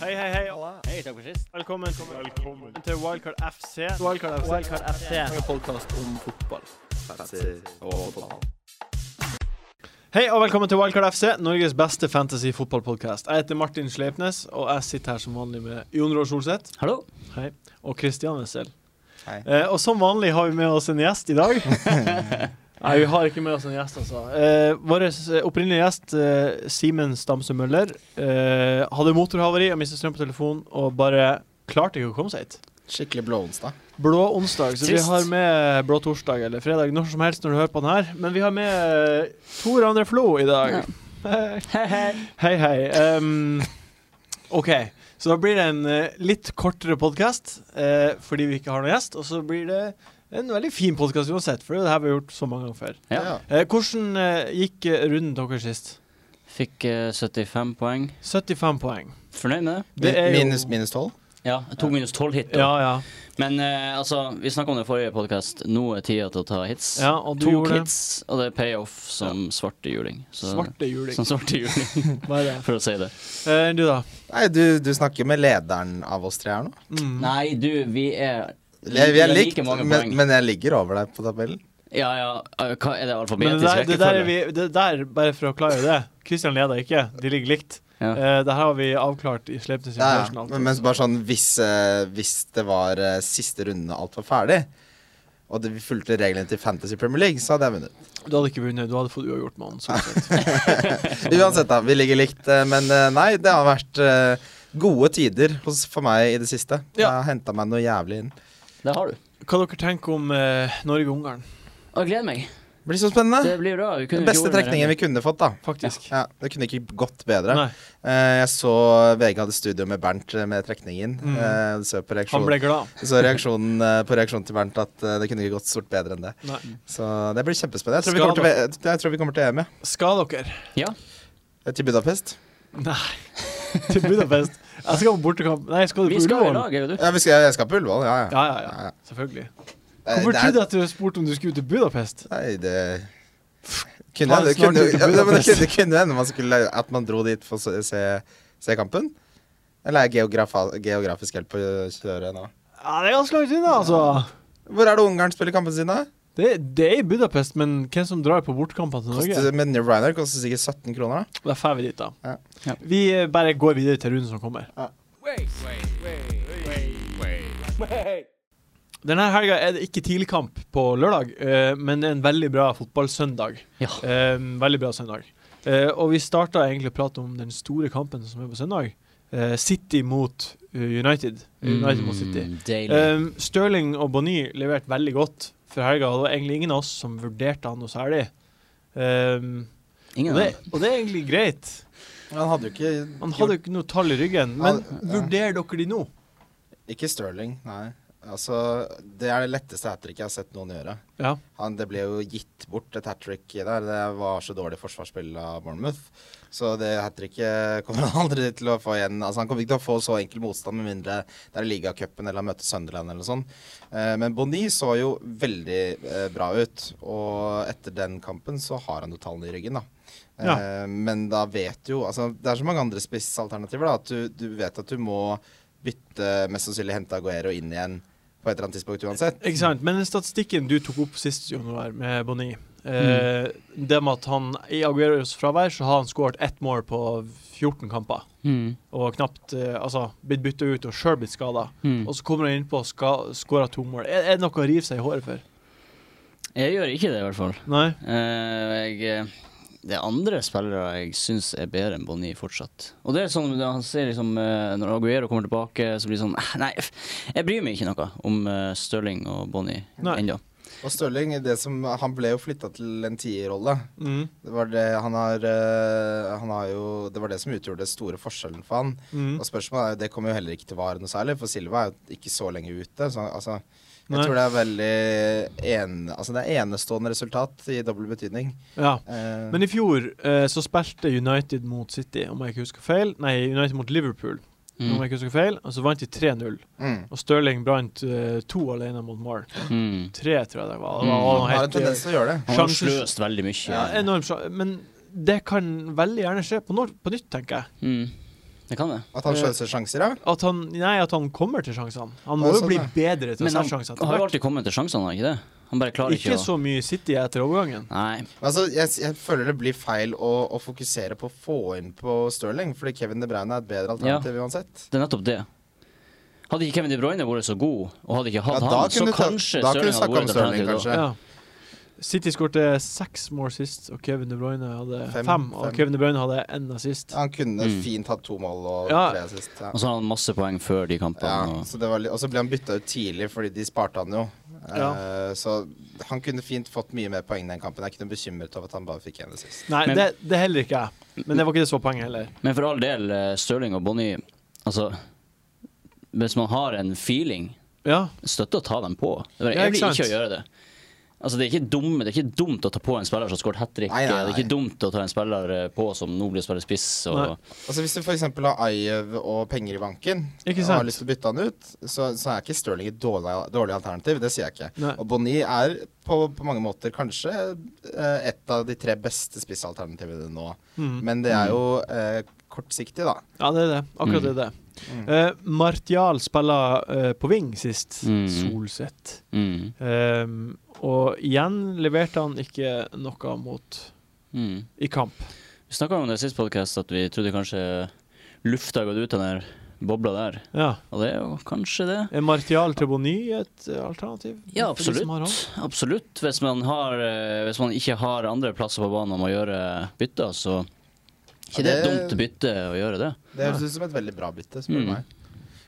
Hei, hei, hei. Hei, takk for sist. Velkommen, til Wildcard FC. Wildcard FC. Wildcard FC. En podkast om fotball. Hei og velkommen til Wildcard FC, Norges beste fantasy-fotballpodkast. Jeg heter Martin Sleipnes, og jeg sitter her som vanlig med Jon Roar Solseth Hallo. og Kristian Wessel. Hei. Eh, og som vanlig har vi med oss en gjest i dag. Nei, vi har ikke med oss en gjest, altså. Eh, Vår opprinnelige gjest, eh, Simen Stamse Møller, eh, hadde motorhavari og mistet strøm på telefonen og bare klarte ikke å komme seg hit. Skikkelig blå onsdag. Blå onsdag, så Trist. vi har med blå torsdag eller fredag når som helst når du hører på den her. Men vi har med eh, Tor André Flo i dag. Hei, hei. Hei, hei. Ehm, OK, så da blir det en eh, litt kortere podkast fordi vi ikke har noen gjest. Og så blir det en veldig fin podkast uansett, for det her vi har gjort så mange ganger før. Ja. Eh, hvordan eh, gikk eh, runden deres sist? Fikk eh, 75 poeng. 75 poeng. Fornøyd med det? Det er jo- minus, minus 12. Ja. Jeg tok minus 12 hit. Da. Ja, ja. Men eh, altså, vi snakka om det i forrige podkast. Nå er tida til å ta hits. ja og du to gjorde det. hits, og det er payoff som svarte juling. Så, Svarte juling. Som svarte juling, Hva er det? for å si det. Eh, du, da? Nei, du, du snakker med lederen av oss tre her nå. Mm. Nei, du, vi er Jeg, vi er like likt, mange men, poeng. men jeg ligger over deg på tabellen. Ja, ja, eh, hva er det Men det alfabetisk der, det, der er rekkefølge? vi, det der, bare for å klare det Kristian leder ikke, de ligger likt. Ja. Eh, det her har vi avklart i Sleipnes Ja, ja. International. men, men bare sånn hvis, eh, hvis det var eh, siste runde og alt var ferdig, og det, vi fulgte reglene til Fantasy Premier League, så hadde jeg vunnet. Du hadde ikke vunnet, du hadde fått uavgjort med han. sånn sett. Uansett, da. Vi ligger likt. eh, men eh, nei, det har vært eh, gode tider hos, for meg i det siste. Jeg Ja. har henta meg noe jævlig inn. Det har du. Hva dere tenker om eh, Norge-Ungarn, Å, jeg gleder meg. Det blir så spennende. Det blir bra. Vi Den kunne beste trekningen vi kunne fått, da. faktisk? Ja, det kunne ikke gått bedre. Nei, Eh, jeg så VG hadde studio med Bernt eh, med trekningen. Mm. Eh, du så, på han reaksjonen, ble glad. du så reaksjonen eh, på reaksjonen til Bernt at eh, det kunne ikke gått stort bedre enn det. Nei. Så det blir kjempespennende. Jeg tror, vi Skal kommer til, V- jeg tror vi kommer til EM, ja. Skal dere Eh, Til Budapest. til Budapest? Jeg skal på bortekamp. Nei, skal du Vi på skal i Ullevål? lag, er det du? Ja, vi skal, jeg skal på Ullevål, ja. ja. Ja, ja, ja. Ja, ja. Selvfølgelig. Eh, Hvorfor det er- trodde jeg at du spurte om du skulle til Budapest? Nei, det Ta kunne, det det snart kunne, ut til ja, men det Budapest. kunne, det kunne hende man skulle, at man dro dit for å se- se, se kampen. Eller er jeg geografa- geografisk helt på kjøret nå? Ja, Det er ganske langt unna, altså. Hvor er det Ungarn spiller kampene sine? Det, det er i Budapest, men hvem som drar på bortekampene til Norge? Koster, men Ryanair koster sikkert 17 kroner. da Da drar vi dit, da. Ja. Ja. Vi eh, bare går videre til runden som kommer. Ja. Denne helga er det ikke tidligkamp på lørdag, eh, men det er en veldig bra fotballsøndag. Ja. Eh, veldig bra søndag. Eh, og vi starta egentlig å prate om den store kampen som er på søndag. Eh, City mot eh, United. United mot City. Mm, Deilig. Um, Stirling og Bonny leverte veldig godt for helga. og Det var egentlig ingen av oss som vurderte han noe særlig. Um, Ingen og, av det, dem. og det er egentlig greit. Han hadde jo ikke Han hadde jo ikke noe tall i ryggen. Men Han- ja. vurderer dere de nå? Ikke Sterling, nei. Altså, det er det letteste hat tricket jeg har sett noen gjøre. Ja. Han, det ble jo gitt bort et hat trick der. Det var så dårlig forsvarsspill av Bournemouth. Så det hat tricket kommer han aldri til å få igjen. Altså, han kommer ikke til å få så enkel motstand med mindre det er ligacupen eller han møter Sunderland eller noe sånt. Eh, men Bonny så jo veldig eh, bra ut. Og etter den kampen så har han jo tallene i ryggen, da. Ja. Eh, Men da vet jo altså, Det er så mange andre spissalternativer da, at du, du vet at du må bytte Mest sannsynlig hente Aguero inn igjen på et eller annet tidspunkt uansett. Ikke sant? Men den statistikken du tok opp sist januar med Bonny eh, Det med at han i Agueros fravær så har han skåret ett mål på 14 kamper. Mm. Og knapt eh, altså, blitt bytta ut og sjøl blitt skada. Mm. Og så kommer han innpå og ska- skårer to mål. Er, er det noe å rive seg i håret for? Jeg gjør ikke det, i hvert fall. Nei? Eh, jeg, eh, det er andre spillere jeg syns er bedre enn Bonny fortsatt. Og det er sånn, da han ser liksom, eh, Når Aguero kommer tilbake, så blir det sånn eh, Nei, f- jeg bryr meg ikke noe om eh, Stirling og Bonny Nei. ennå. Og Stirling, det som, han ble jo flytta til en tierrolle. Mm. Det var det han har, eh, han har jo Det var det som utgjorde den store forskjellen for han. Mm. Og spørsmålet er jo, det kommer jo heller ikke til å vare noe særlig, for Silva er jo ikke så lenge ute. Så, altså, jeg Nei. tror det er veldig en, altså, det er enestående resultat i dobbel betydning. Ja. Eh, Men i fjor eh, så spilte United mot City, om jeg ikke husker feil. Nei, United mot Liverpool, om Mm. jeg ikke husker feil. Og så vant de 3-0. mm. Og Stirling brant eh, to alene mot Marl. Mm. Tre, tror jeg det var. Mm. Det var Han har en helt, eh, tendens til å gjøre det. Han har Sjansen- sløst veldig mye. ja, enormt sjan- Men det kan veldig gjerne skje på, nor- på nytt, tenker jeg. Mm. Det Det kan det. At Eh. han sløser sjanser, ja? At han, nei, at han kommer til sjansene. Han må Ja, jo sånn, bli ja. bedre til å Men se han, sjanser. han har jo alltid kommet til sjansene, har han ikke det? Han bare klarer ikke, Ikke så mye City etter overgangen. å Nei. Altså, jeg, jeg føler det blir feil å, å fokusere på å få inn på Sterling, fordi Kevin De Bruyne er et bedre alternativ uansett. Det er nettopp det. Hadde ikke Kevin De Bruyne vært så god, og hadde ikke Ja, hatt da han, så kunne du ta- kanskje da kunne du Stirling hadde snakke om vært et Stirling, alternativ da. kanskje. Ja. City skårte seks mål sist, og Kevin De Bruyne hadde fem. Fem, fem. og Kevin De Bruyne hadde én assist. Han kunne Mm. fint hatt to mål og Ja. tre sist. Ja. Og så har han masse poeng før de kampene. Ja, Og... så det var litt, og så ble han bytta ut tidlig, fordi de sparte han jo. Eh, så han kunne fint fått mye mer poeng den kampen. Jeg er ikke noe bekymret over at han bare fikk en sist. Nei, Men- det, det heller ikke jeg. Men det var ikke det så poenget heller. Men for all del, eh, Sterling og Bonnie Altså, hvis man har en feeling, Ja, støtte å ta dem på. Det er Ja, jævlig ikke sant? ikke å gjøre det. Altså, det er, ikke dumme, det er ikke dumt å ta på en spiller som har skåret hat trick. Nei, nei, Det er nei. ikke dumt å ta en spiller eh, på som nå blir å spille spiss. Og... Nei. Altså Hvis du f.eks. har Ayew og penger i banken Ikke og sant? har lyst til å bytte han ut, så, så er ikke Stirling et dårlig, dårlig alternativ. Det sier jeg ikke. Nei. Og Bonny er på, på mange måter kanskje eh, et av de tre beste spissalternativene nå. mm. Men det er jo eh, kortsiktig, da. ja det er det. Akkurat det er det. Mm. Eh, Martial spiller eh, på wing sist, Mm. Solseth. Mm. Ehm, og igjen leverte han ikke noe mot Mm. i kamp. Vi snakka om det i sist podcast at vi trodde kanskje lufta har gått ut av den der bobla der. Ja. Og det er jo kanskje det. Er Martial til Bonny et eh, alternativ? Ja, For de som har han? absolutt. absolutt. Hvis, man har, eh, hvis man ikke har andre plasser på banen om å gjøre bytter, så ikke Ja, det det- er dumt bytte å gjøre det. Det høres ut som et veldig bra bytte, spør du Mm. meg.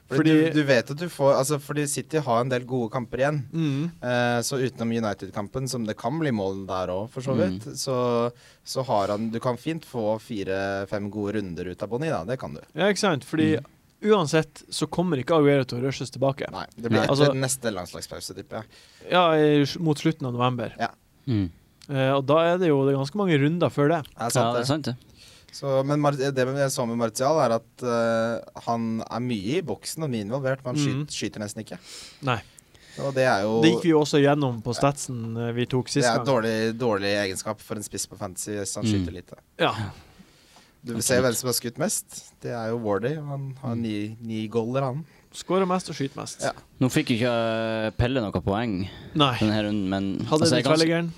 Fordi, Fordi- du, du vet at du får Altså, fordi City har en del gode kamper igjen. Mm. Eh, så utenom United-kampen, som det kan bli mål der òg, for så vidt, så, så har han Du kan fint få fire-fem gode runder ut av Bonny, da. Det kan du. Ja, ikke sant? Fordi Mm. uansett så kommer ikke Aguero til å rushes tilbake. Nei, det blir Nei. etter Altså- neste landslagspause, tipper jeg. Ja, i, mot slutten av november. Mm. Eh, og da er det jo det er ganske mange runder før det. Er Ja, sant, det er det. sant, det. Så, men Mar det jeg så med Martial, er at eh, han er mye i boksen og mye involvert, men han Mm. skyter, skyter nesten ikke. Nei. Og det er jo Det gikk vi jo også gjennom på statsen eh, vi tok det sist er et gang. dårlig, dårlig egenskap for en spiss på fantasy hvis han Mm. skyter lite. Ja. Du ser hvem som har skutt mest. Det er jo Wardy. og Han har ni, ni goaler, han. Skårer mest og skyter mest. Ja. Nå fikk jo ikke eh, Pelle noe poeng Nei. denne runden, men Hadde det altså, jeg er ganske- tverrliggeren?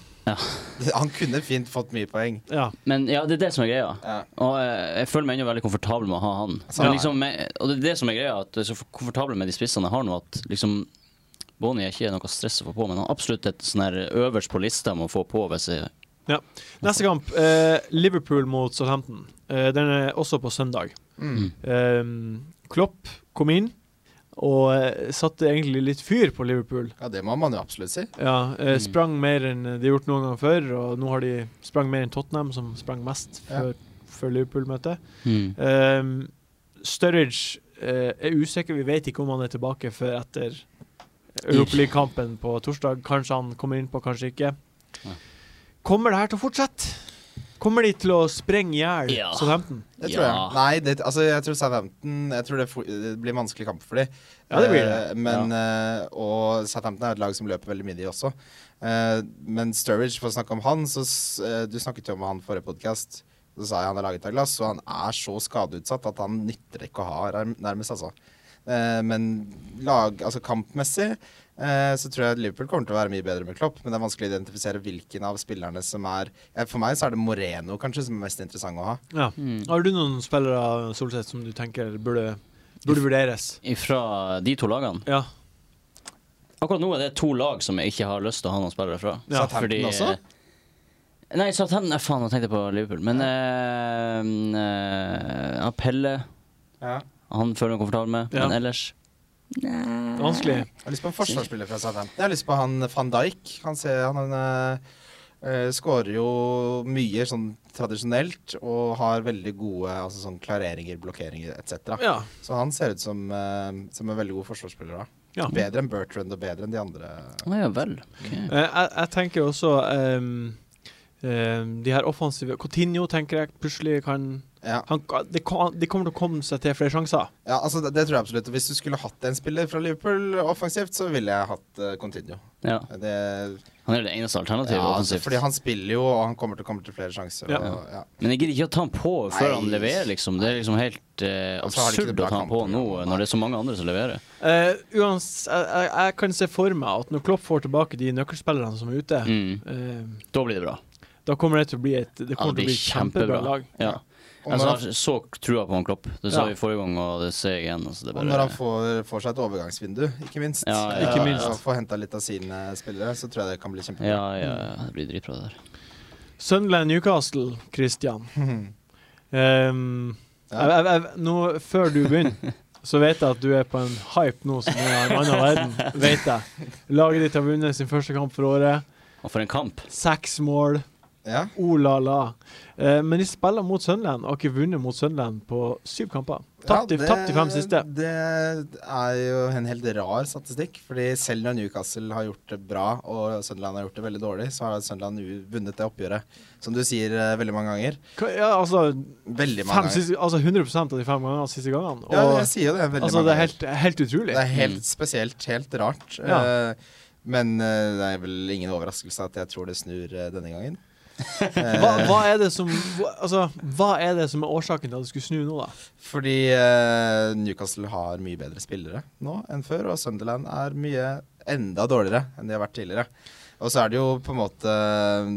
Han kunne fint fått mye poeng. Ja. Men ja, det er det som er greia. Ja. Og eh, jeg føler meg ennå veldig komfortabel med å ha han. Ja. Men liksom, jeg- og det er det som er greia, at jeg er så komfortabel med de spissene jeg har nå, at liksom Bonnie er ikke noe stress å få på, men han er absolutt et sånn her øverst på lista med å få på hvis jeg Neste kamp, eh, Liverpool mot Southampton. Eh, den er også på søndag. Mm. Eh, Klopp kom inn og eh, satte egentlig litt fyr på Liverpool. Ja, det må man jo absolutt si. Ja, eh, Mm. Sprang mer enn de har gjort noen gang før, og nå har de sprang mer enn Tottenham, som sprang mest Ja. før, før Liverpool-møtet. Ehm, Sturridge eh, er usikker, vi vet ikke om han er tilbake før etter Europa League-kampen på torsdag. Kanskje han kommer innpå, kanskje ikke. Ja. Kommer det her til å fortsette? Kommer de til å sprenge i hjel Ja. Southampton? Det tror Ja. jeg. Nei, det, altså, jeg tror Southampton Jeg tror det, for, det blir en vanskelig kamp for dem. Ja, det blir det. men, eh, og Southampton er et lag som løper veldig mye, de også. Eh, men Sturridge, for å snakke om han så, s- eh, Du snakket jo om han forrige podkast. Så sa jeg han er laget av glass, og han er så skadeutsatt at han nytter ikke å ha her, nærmest, altså. Eh, men lag, altså kampmessig eh, så tror jeg Liverpool kommer til å være mye bedre med Klopp, men det er vanskelig å identifisere hvilken av spillerne som er eh, For meg så er det Moreno kanskje som er mest interessant å ha. Ja. Har du noen spillere Solseth, som du tenker burde, burde vurderes? Fra de to lagene. Ja. Akkurat nå er det to lag som jeg ikke har lyst til å ha noen spillere fra. Ja, Southampton Fordi- eh, også? Nei, Southampton Nei, faen, jeg tenkte på Liverpool. Men eh, eh, ja, Pelle Ja. han føler meg komfortabel med, Ja. men ellers Vanskelig. Jeg har lyst på en forsvarsspiller fra Southampton. Jeg har lyst på han eh, van Dijk. Han, ser, han eh, eh, skårer jo mye sånn tradisjonelt og har veldig gode altså, sånn klareringer, blokkeringer etc. Ja. Så han ser ut som, eh, som en veldig god forsvarsspiller. Da. ja. Bedre enn Bertrand og bedre enn de andre. Å ja vel. ok. Eh, jeg, jeg tenker også ehm, ehm, de her offensive Coutinho tenker jeg plutselig kan Ja, han, de, kan- de kommer til å komme seg til flere sjanser. ja altså, det, det tror jeg absolutt. Hvis du skulle hatt en spiller fra Liverpool offensivt, så ville jeg hatt eh, Continuo. Ja. Det, Han er jo det eneste alternativet Ja, altså, offensivt. fordi han spiller jo, og han kommer til, kommer til flere sjanser. Ja. Og, ja. Men jeg gidder ikke å ta han på før han Nei. leverer, liksom. Det er liksom helt eh, Og så har de ikke absurd det å bra ta han på nå, eh, kampprogram, når det er så mange andre som leverer. Eh, uans, jeg, jeg, jeg kan se for meg at når Klopp får tilbake de nøkkelspillerne som er ute, Mm. eh, Da blir det bra. da kommer det til å bli et Det Ja, kommer til å det blir bli et kjempebra kjempebra. lag. Ja. Og Altså, når jeg har så trua på han Klopp. Det Ja. sa vi forrige gang, og det ser jeg igjen. Altså, det er Og bare, når han får, får seg et overgangsvindu, ikke minst. eh, Ja, ja, Ikke minst. Og får henta litt av sine spillere, så tror jeg det kan bli kjempebra. ja, ja, ja, det blir dritbra, det der. Sunderland Newcastle, Christian. Ehm, Ja. jeg, jeg, jeg, nå, før du begynner, så vet jeg at du er på en hype nå som er av en annen verden. Vet jeg. Laget ditt har vunnet sin første kamp for året. Og for en kamp! Seks mål. Ja. Oh la la. Eh, men de spiller mot Sunderland og har ikke vunnet mot Sunderland på syv kamper. Tapt i, Ja, det- tapt i fem siste. Det er jo en helt rar statistikk. Fordi selv når Newcastle har gjort det bra, og Sunderland har gjort det veldig dårlig, så har Sunderland u- vunnet det oppgjøret. Som du sier eh, veldig mange ganger. Hva- Ja, altså, Veldig mange fem ganger. siste, altså 100 av de fem gangene siste gangene. Og, Ja, jeg sier jo det. Veldig altså, mange det er ganger. helt, helt utrolig. Det er helt Mm. spesielt, helt rart. Ja. Eh, men eh, det er vel ingen overraskelse at jeg tror det snur eh, denne gangen. Eh, Hva, hva, er det som, hva, altså, hva er det som er årsaken til at det skulle snu nå, da? Fordi eh, Newcastle har mye bedre spillere nå enn før, og Sunderland er mye enda dårligere enn de har vært tidligere. Og så er det jo på en måte eh,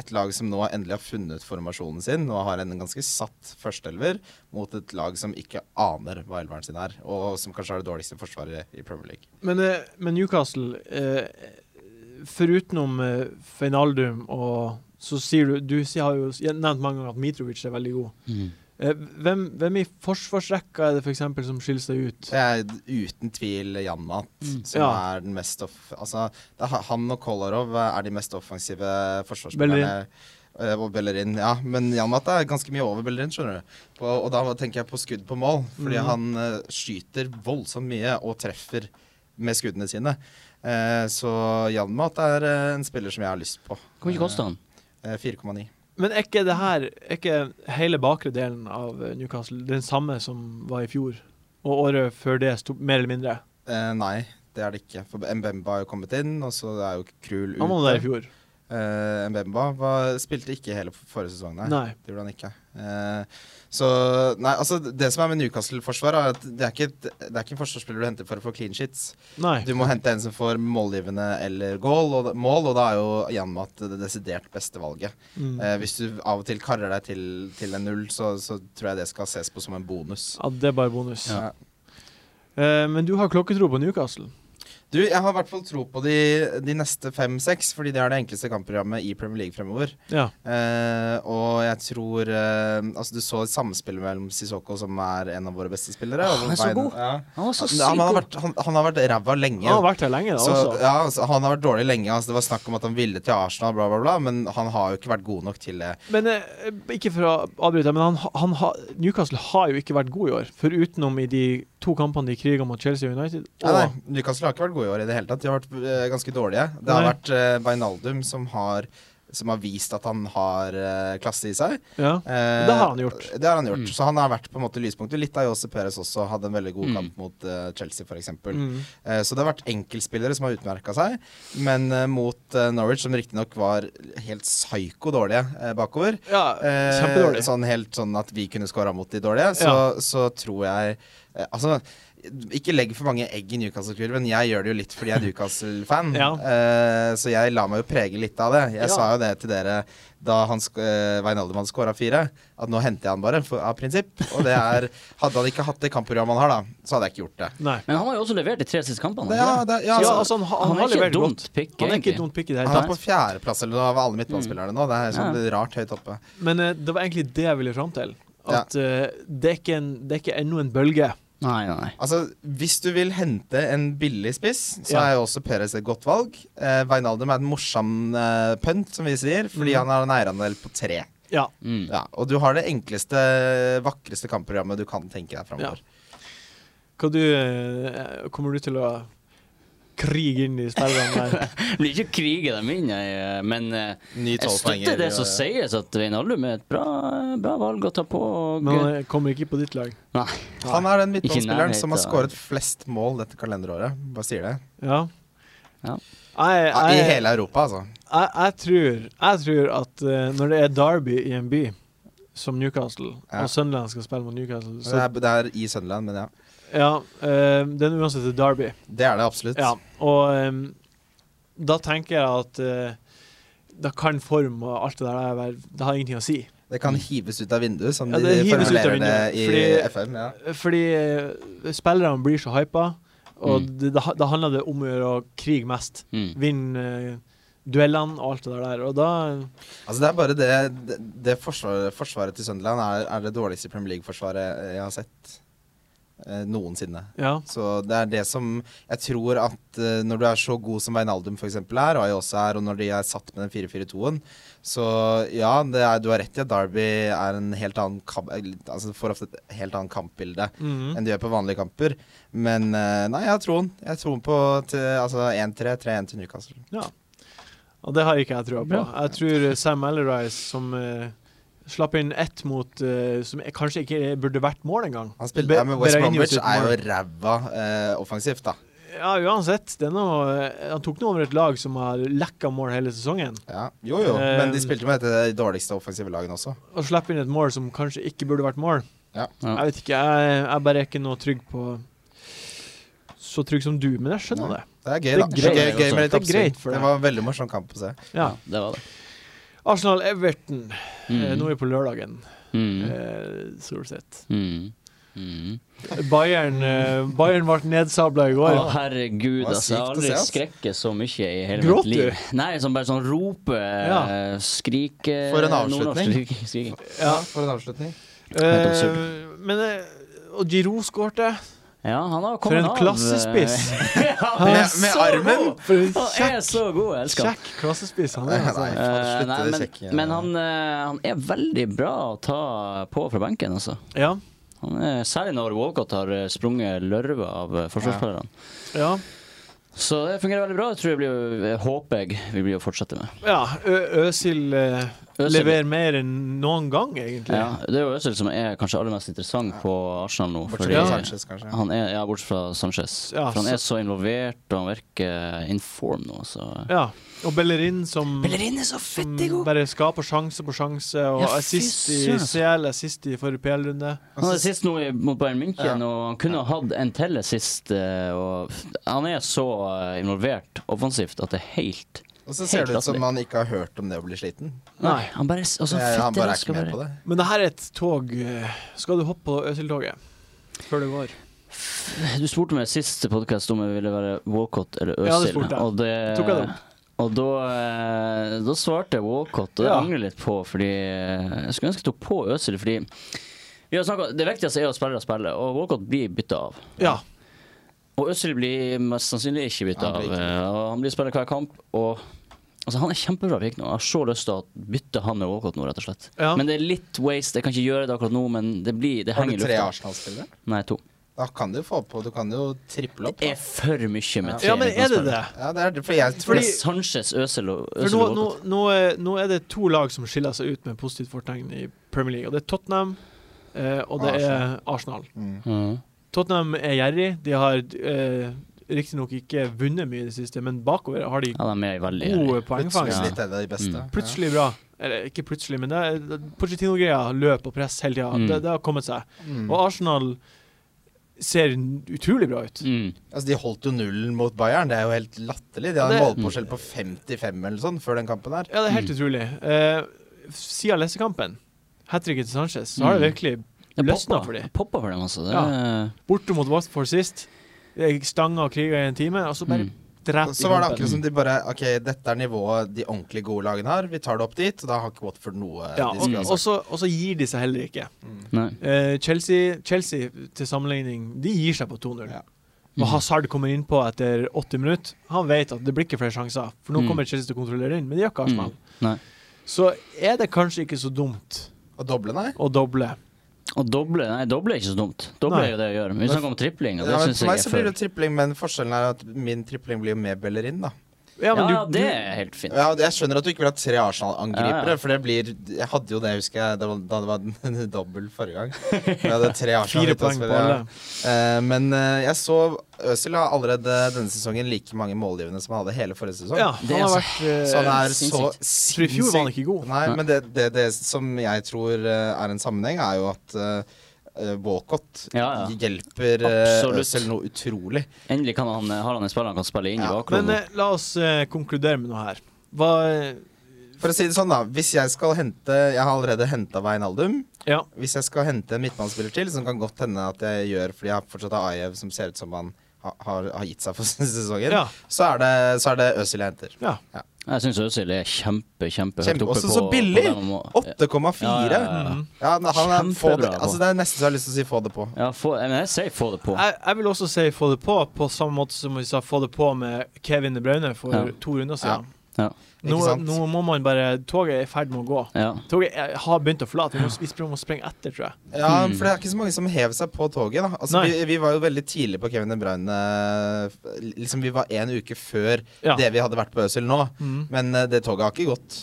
et lag som nå endelig har funnet formasjonen sin og har en ganske satt førsteelver mot et lag som ikke aner hva elveren sin er, og som kanskje har det dårligste forsvaret i Premier League. Men, eh, men Newcastle, eh, forutenom eh, Feinaldum og så sier du Du sier, har jo s- nevnt mange ganger at Mitrovic er veldig god. Mm. Eh, hvem, hvem i forsvarsrekka er det for eksempel som skiller seg ut? Det er uten tvil Jan Mat som Mm. Ja. er den mest off... Altså, det er ha- han og Kolarov er de mest offensive forsvarsspillerne. Eh, Og Bellerin, ja. Men Jan Mat er ganske mye over Bellerin, skjønner du. På, og da tenker jeg på skudd på mål, fordi Mhm. han eh, skyter voldsomt mye og treffer med skuddene sine. Eh, så Jan Mat er eh, en spiller som jeg har lyst på. Hvor mye kosta han? Eh, 4,9. Men er ikke det her Er ikke hele bakre delen av eh, Newcastle den samme som var i fjor? Og året før det, sto, mer eller mindre? Eh, nei, det er det ikke. For Mbemba har jo kommet inn, og så er jo Krul ute. Han var der i fjor. Eh, Mbemba var, spilte ikke hele f- forrige sesong, nei. Nei. Det gjorde han ikke. Eh, så Nei, altså, det som er med Newcastle-forsvaret, er at det er, ikke, et- det er ikke en forsvarsspiller du henter for å få clean sheets. Nei. Du må hente en som får målgivende eller goal, og, mål, og da er jo Janmat det desidert beste valget. Mm. Eh, hvis du av og til karrer deg til, til en null, så, så tror jeg det skal ses på som en bonus. Ja, det er bare bonus. Ja. Eh, men du har klokketro på Newcastle. Du, jeg har i hvert fall tro på de, de neste fem-seks, fordi det er det enkleste kampprogrammet i Premier League fremover. Ja. Eh, og jeg tror eh, Altså, du så samspillet mellom Sissoko, som er en av våre beste spillere. Ah, og han er så Vein- god. Ja. Han var Ja, så men sykt han, har god! vært, han, han har vært ræva lenge. Han har vært her lenge, da så, også. ja, altså, han har vært dårlig lenge. Altså, det var snakk om at han ville til Arsenal, bla, bla, bla, men han har jo ikke vært god nok til det. Men eh, ikke for å avbryte, men han, ha- han, ha- Newcastle har jo ikke vært god i år. For utenom i de to kampene de kriga mot Chelsea og United. Og, Ja, nei, Newcastle har ikke vært gode i år i det hele tatt. De har vært eh, ganske dårlige. Det har Nei. vært eh, Wijnaldum som har som har vist at han har eh, klasse i seg. ja. Eh, Det har han gjort. Det har han gjort. Mm. Så han har vært på en måte lyspunktet. Litt av Jose Perez også hadde en veldig god Mm. kamp mot eh, Chelsea, f.eks. eksempel Mm. Eh, Så det har vært enkeltspillere som har utmerka seg, men eh, mot eh, Norwich, som riktignok var helt psyko dårlige eh, bakover ja eh, kjempedårlig. Sånn helt sånn at vi kunne skåra mot de dårlige, så, så tror jeg eh, Altså, ikke legg for mange egg i Newcastle-kurven. Jeg gjør det jo litt fordi jeg er Newcastle-fan, Ja. eh, så jeg lar meg jo prege litt av det. Jeg Ja. sa jo det til dere da han sk- eh, Wijnaldum hadde skåra fire, at nå henter jeg han bare, for, av prinsipp. Og det er Hadde han ikke hatt det kampprogrammet han har, da, så hadde jeg ikke gjort det. Nei. Men han har jo også levert de tre siste kampene. Det- har ja, han ikke det? det, ja, ja, altså, altså, han, ha- han han er har ikke et levert dumt godt. pick, Han er ikke egentlig. et dumt pick i det Han hele er på tatt. fjerdeplass eller noe av alle midtbanespillerne nå. Det er sånn rart høyt oppe. Men eh, det var egentlig det jeg ville fram til. At eh, det, er ikke en, det er ikke ennå en bølge. Nei, nei, nei. Altså, Hvis du vil hente en billig spiss, så Ja. er jo også Perez et godt valg. Eh, Wijnaldum er en morsom eh, pønt, som vi sier, fordi Mm. han har en eierandel på tre. Ja. Mm. Ja, og du har det enkleste, vakreste kampprogrammet du kan tenke deg framover. Hva du eh, Kommer du til å krige inn i spillerne der? Det blir ikke å krige dem inn, jeg, eh, men eh, Ny jeg støtter det som eh, sies, at Veinaldum er et bra, bra valg å ta på. Og, Men han eh, kommer ikke på ditt lag. nei. Han er den midtbanespilleren nærheten som har av- skåret flest mål dette kalenderåret. Bare sier det. Ja. Ja. Jeg, Ja, I jeg, hele Europa, altså. jeg, jeg, tror, jeg tror at eh, når det er Derby i en by som Newcastle, Ja. og Sunderland skal spille mot Newcastle Så det, så, er, det er i Sunderland, men ja. Ja, eh, det er uansett et Derby. Det er det absolutt. Ja, og ehm, da tenker jeg at eh, da kan form og alt det der der være Det har ingenting å si. Det kan hives ut av vinduet, som Ja, det de hives ut av formulerer det i vinduet, fordi- FM. Ja. Fordi eh, spillerne blir så hypa, og Mm. det, da, da handler det om å gjøre å krige mest. Mm. Vinne eh, duellene og alt det der der. Og da Altså Det er bare det Det, det forsvaret, forsvaret til Sunderland er, er det dårligste Premier League-forsvaret jeg har sett eh, noensinne. Ja. Så det er det som Jeg tror at eh, når du er så god som Wijnaldum f.eks. er, og jeg også er, og når de er satt med den 4-4-2-en, så ja, det er, du har rett i at Derby er en helt annen kamp Altså får ofte et helt annet kampbilde mhm. enn de gjør på vanlige kamper. Men eh, nei, jeg har troen. Jeg har troen på til, altså 1-3, 3-1 til Newcastle. Og det har ikke jeg trua på. Bra. Jeg tror eh, Sam Alarise, som eh, slapp inn ett mot eh, Som eh, kanskje ikke burde vært mål engang. Han spilte Be- ja, med West Berahino Bromwich, sitt er mål. jo ræva eh, offensivt, da. Ja, uansett. Det er noe, han tok nå over et lag som har lekka mål hele sesongen. Ja. Jo, jo, Eh, men de spilte med dette dårligste offensive laget også. Å slippe inn et mål som kanskje ikke burde vært mål Ja. Ja. Jeg vet ikke, jeg, jeg bare er ikke noe trygg på Så trygg som du, men jeg skjønner Nei. det. Det er gøy, Det er da. Det er greit. gøy, gøy med litt Det er oppsving. greit for Det deg. var en veldig morsom kamp å se. Ja. Ja, det var det. Arsenal-Everton. Eh, Mm. nå er vi på lørdagen, Mm. eh, stort sett. Mm. Mm. Bayern, eh, Bayern ble nedsabla i Å, går. herregud, Det var altså. Jeg har sykt å se, aldri ass. skrekket så mye i hele Gråt mitt liv. Nei, som bare sånn rope, Ja. eh, skrike eh, For en avslutning. nordnorsk skrik- skriking. Ja. For en avslutning. Helt Eh, men eh, Og Giro skårte. Ja, han har For kommet en av, eh, klassespiss. ja, han Med- er med så armen. god. For en Han kjekk, er så god, jeg elsker han. kjekk klassespiss han Nei, er. Altså. nei, Eh, faen, nei, slutt men, det kjekke. men han, eh, han er veldig bra å ta på fra benken, altså. Ja, Han er, særlig når Walcott har eh, sprunget lørve av eh, forsvarsspillerne. ja. Så det fungerer veldig bra. Det tror jeg blir, jo- jeg håper jeg vi blir å fortsette med. ja Ø- Øsil eh, Özil- leverer mer enn noen gang, egentlig. Ja, det er jo Øzil som er kanskje aller mest interessant på Arsenal nå. Bortsett fordi fra Sanchez, kanskje. Han er, ja, bortsett fra Sanchez. Ja, for han er så involvert, og han virker in form nå, så Ja, og Bellerin som, Bellerin er som så fettig god! bare skaper sjanse på sjanse, og Ja, fy assist i søren. altså. CL, assist i forrige PL-runde. Han hadde sist nå i- mot Bayern München, Ja. og han kunne ha hatt en til sist. eh, Og han er så eh, involvert offensivt at det er helt Og så ser Helt det ut som latterlig. han ikke har hørt om det å bli sliten. Nei. Han bare altså, Det, er- han fetter bare er rask ikke og med på bare- det. Men det her er et tog. eh, Skal du hoppe på Øsil-toget før det går? Du spurte meg sist podkast om jeg ville være Walcott eller Ja, det Øzil. spurte jeg. og det, Tok jeg det opp? og da, eh, da svarte jeg Walcott, og det Ja. angrer jeg litt på. Fordi eh, Jeg skulle ønske jeg tok på Øzil, fordi vi har snakket, det viktigste er å spille og spille, og Walcott blir bytta av. Ja. Og Øzil blir mest sannsynlig ikke bytta Han blir av. ikke eh, og Han blir spiller hver kamp. Og altså, Han er kjempebra pick nå. Jeg har så lyst til å bytte han med Walcott nå, rett og slett. Ja. Men det er litt waste. Jeg kan ikke gjøre det akkurat nå, men det, blir, det Har henger du i tre lufta. Arsenal-spillere? Nei, to. Da kan du få på Du kan jo triple opp. Det Da. er for mye med tre. ja, men er det det? Ja, det er det, for jeg Fordi, Fordi- for, Sanchez, Øzil og For Øzil nå, og nå, Walcott. nå, er, nå er det to lag som skiller seg ut med positivt fortegn i Premier League, og det er Tottenham eh, og det er Arsenal. mm. Mhm. Tottenham er gjerrig. De har eh, riktignok ikke vunnet mye i det siste, men bakover har de Ja, de er veldig gode Plutselig poengfangst. Ja. litt er det de beste. Mm. Plutselig bra. Eller ikke plutselig, men det er- Pochettino-greia, løp og press hele tida, Mm. det, det har kommet seg. Ja. Mm. Og Arsenal ser n- utrolig bra ut. Mm. Altså, de holdt jo nullen mot Bayern. Det er jo helt latterlig. De hadde Ja, en det- målforskjell på 55 eller sånn før den kampen her. Ja, det er helt Mm. utrolig. Eh, siden lesekampen, hat tricket til Sanchez, så har det Mm. virkelig Det løsna poppa for dem. poppa for dem, altså. Det, Borte mot Watford sist, eh, stanga og kriga i en time, og så bare Mm. drept Så var det akkurat som de bare OK, dette er nivået de ordentlig gode lagene har. Vi tar det opp dit. Og da har ikke Watford noe ja, og, de skulle ha og, så, og så gir de seg heller ikke. Nei. Eh, Chelsea, Chelsea, til sammenligning, de gir seg på 2-0. Ja. Mhm. Og Hazard kommer innpå etter 80 minutter. Han vet at det blir ikke flere sjanser, for nå Mm. kommer Chelsea til å kontrollere inn, men det gjør ikke Arsenal. Mm. Nei. Så er det kanskje ikke så dumt sagt. Og doble, nei. å doble. Og doble nei, doble er ikke så dumt. Doble Nei. er jo det jeg gjør. Men Vi snakker om tripling, og Ja, det men synes for meg jeg så er blir for det tripling, men forskjellen er at min tripling blir jo med Bellerin, da. Ja, men ja, du- det du- er helt fint. Ja, Jeg skjønner at du ikke vil ha tre Arsenal-angripere, Ja, ja. for det blir Jeg hadde jo det, husker jeg, da da det var dobbel forrige gang. Jeg hadde tre Arsenal Fire ute og poeng på spille, ja. alle. Eh, men eh, jeg så Øzil har allerede denne sesongen like mange målgivende som han hadde hele forrige sesong. Ja, Det han er har så- vært eh, Så han Sånn er så sinnssykt. For i fjor var han ikke god. Nei, men det, det, det som jeg tror eh, er en sammenheng, er jo at uh, Walcott Ja, ja. hjelper Absolutt. uh, Øzil noe utrolig. Endelig kan han, eh, har han en spiller han kan spille inn i Ja, bakrommet. Men eh, la oss eh, konkludere med noe her. Hva eh, For å si det sånn, da. Hvis jeg skal hente Jeg har allerede henta Veinaldum. Ja. Hvis jeg skal hente en midtbanespiller til, som kan godt hende at jeg gjør fordi jeg fortsatt har Ajev som ser ut som han ha- har, har gitt seg for sesongen, ja. så er det, så er det Øzil jeg henter. ja. Jeg syns Øzil er kjempe, kjempe høyt Kjempe- oppe også på så billig! Mm. på det man må- 8,4. Ja, Ja, ja, ja, ja. Mhm. men han er, få det, Kjempebra på. altså, det er nesten så jeg har lyst til å si få det på. Ja, få, men jeg sier få det på. Jeg, jeg vil også si få det på, på samme måte som vi sa få det på med Kevin De Bruyne for Ja. to runder siden. Ja. Nå, Ikke sant? nå må man bare Toget er i ferd med å gå. Ja. Toget er, har begynt å forlate. Vi må, vi spr- må sprenge etter, tror jeg. Ja, Hmm. for det er ikke så mange som hever seg på toget. da altså, Nei. vi, vi var jo veldig tidlig på Kevin De Bruyne. eh, Liksom, vi var en uke før Ja. det vi hadde vært på Øzil nå. Hmm. Mhm. Men eh, det toget har ikke gått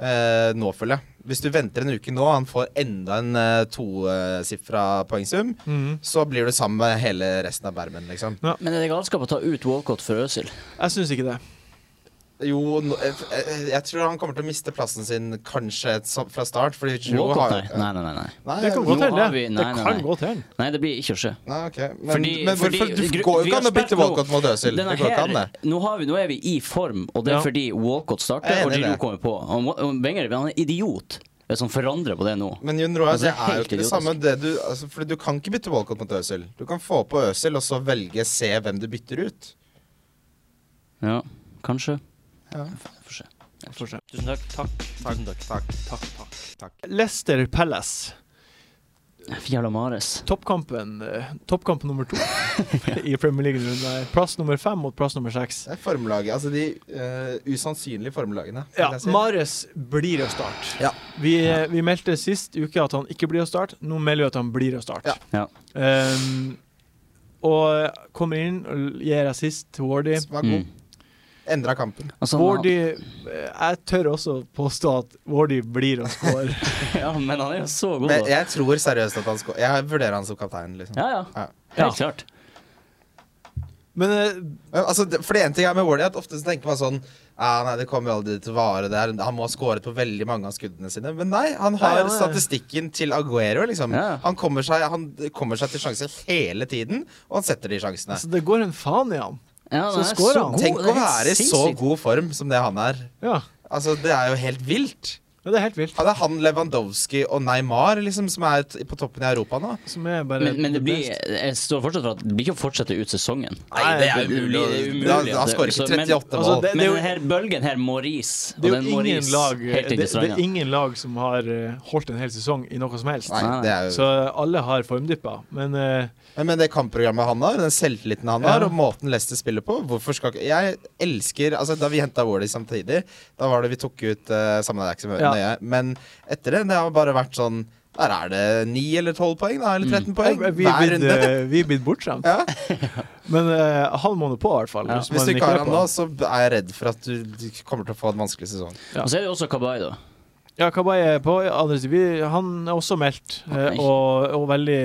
eh, nå, føler jeg. Hvis du venter en uke nå, han får enda en uh, tosifra poengsum, Hmm. Mhm. så blir du sammen med hele resten av bermen, liksom. Men er det galskap å ta ut Walcott for Øzil? Jeg syns ikke det. Jo, nå- eh, f- eh, jeg tror han kommer til å miste plassen sin kanskje et som- fra start. Fordi Giroud har Walcott, nei. Nei, nei, nei. nei. Nei, Det kan jo- gå til, Nå har det. vi- nei, Det nei, kan nei. gå til. Nei, det blir ikke å skje. Nei, ok. Men, Fordi- men hvorfor, fordi- du gru- går jo vi ikke har an å bytte spilt nå- Walcott mot Øzil. Det Denne går ikke an, her- det. Nå, har vi, nå er vi i form, og det er Ja. fordi Walcott Jeg starter, er enig og i Giroud det. kommer på. Og Mo- og Wenger han er idiot hvis han forandrer på det nå. Men Jun Roar, det er Altså, det er jo helt ikke det idiotisk. samme. Det du, altså, fordi du kan ikke bytte Walcott mot Øzil. Du kan få på Øzil, og så velge se hvem du bytter ut. Ja, kanskje. Ja. Får se. Tusen takk. Takk. Tusen takk. Leicester Palace. Jævla Mares. Toppkampen eh, Toppkamp nummer to i Premier League-runden. Plass nummer fem mot plass nummer seks. Det er formlaget. Altså de eh, usannsynlige formlagene. vil Ja, jeg si. Mares blir å starte. Ja. Vi, eh, vi meldte sist uke at han ikke blir å starte. Nå melder vi at han blir å starte. Ja. Um, og kommer inn og gir assist til Wardy. Som var god. Mm. Endra kampen. Altså, han- Wardy eh, Jeg tør også påstå at Wardy blir å score. ja, men han er jo så god, Men da. jeg tror seriøst at han skal Jeg vurderer han som kaptein, liksom. Ja, ja. Ja. Ja. Helt klart. Men eh, Men, altså, det- for det ene ting er med Wardy at ofte så tenker man sånn ah, Nei, det kommer aldri til å vare der. Han må ha skåret på veldig mange av skuddene sine. Men nei, han har Nei, han er- statistikken til Aguero, liksom. Ja. Han, kommer seg, han kommer seg til sjanser hele tiden, og han setter de sjansene. altså, det går en faen i han. Ja, Så han er scorer så han. god, Tenk det å er helt være i så sinnssykt. god form som det han er. Ja, Altså, Det er jo helt vilt. ja det er helt vilt. Ja, det er han Lewandowski og Neymar liksom, som er t- på toppen i Europa nå. Som er bare Men, men det the blir, best. jeg står fortsatt for at det blir ikke å fortsette ut sesongen. Nei, det er umulig, det er umulig. Da- da Det- skårer ikke så- men- 38 altså, mål. det- Men jo- denne her bølgen her må ris. og det er den jo må ingen ris lag, helt det, inn til det er stranda. ingen lag som har eh, holdt en hel sesong i noe som helst. Nei, Nei. det er jo... Så alle har formdippa. Men eh, Men- Men det kampprogrammet han har, den selvtilliten han har, Ja. og måten Leicester spiller på Hvorfor skal ikke Jeg elsker Altså, da vi henta Wally samtidig, da var det vi tok ut uh, Sammen er det ikke så mye Ja. nøye, men etter det, det har bare vært sånn Der er det 9 eller 12 poeng, da, eller 13 poeng Mm. vi hver er blitt, runde. eh, vi er blitt bortskjemt. Ja. Men eh, han må nå på, i hvert fall. Ja. hvis Hvis man du ikke har er han på. nå, så er jeg redd for at du du kommer til å få en vanskelig sesong. Ja. Og så er det jo også Kabay, da. Ja, Kabay er på. Andre siden, vi, han er også meldt, eh, Nei. og, og veldig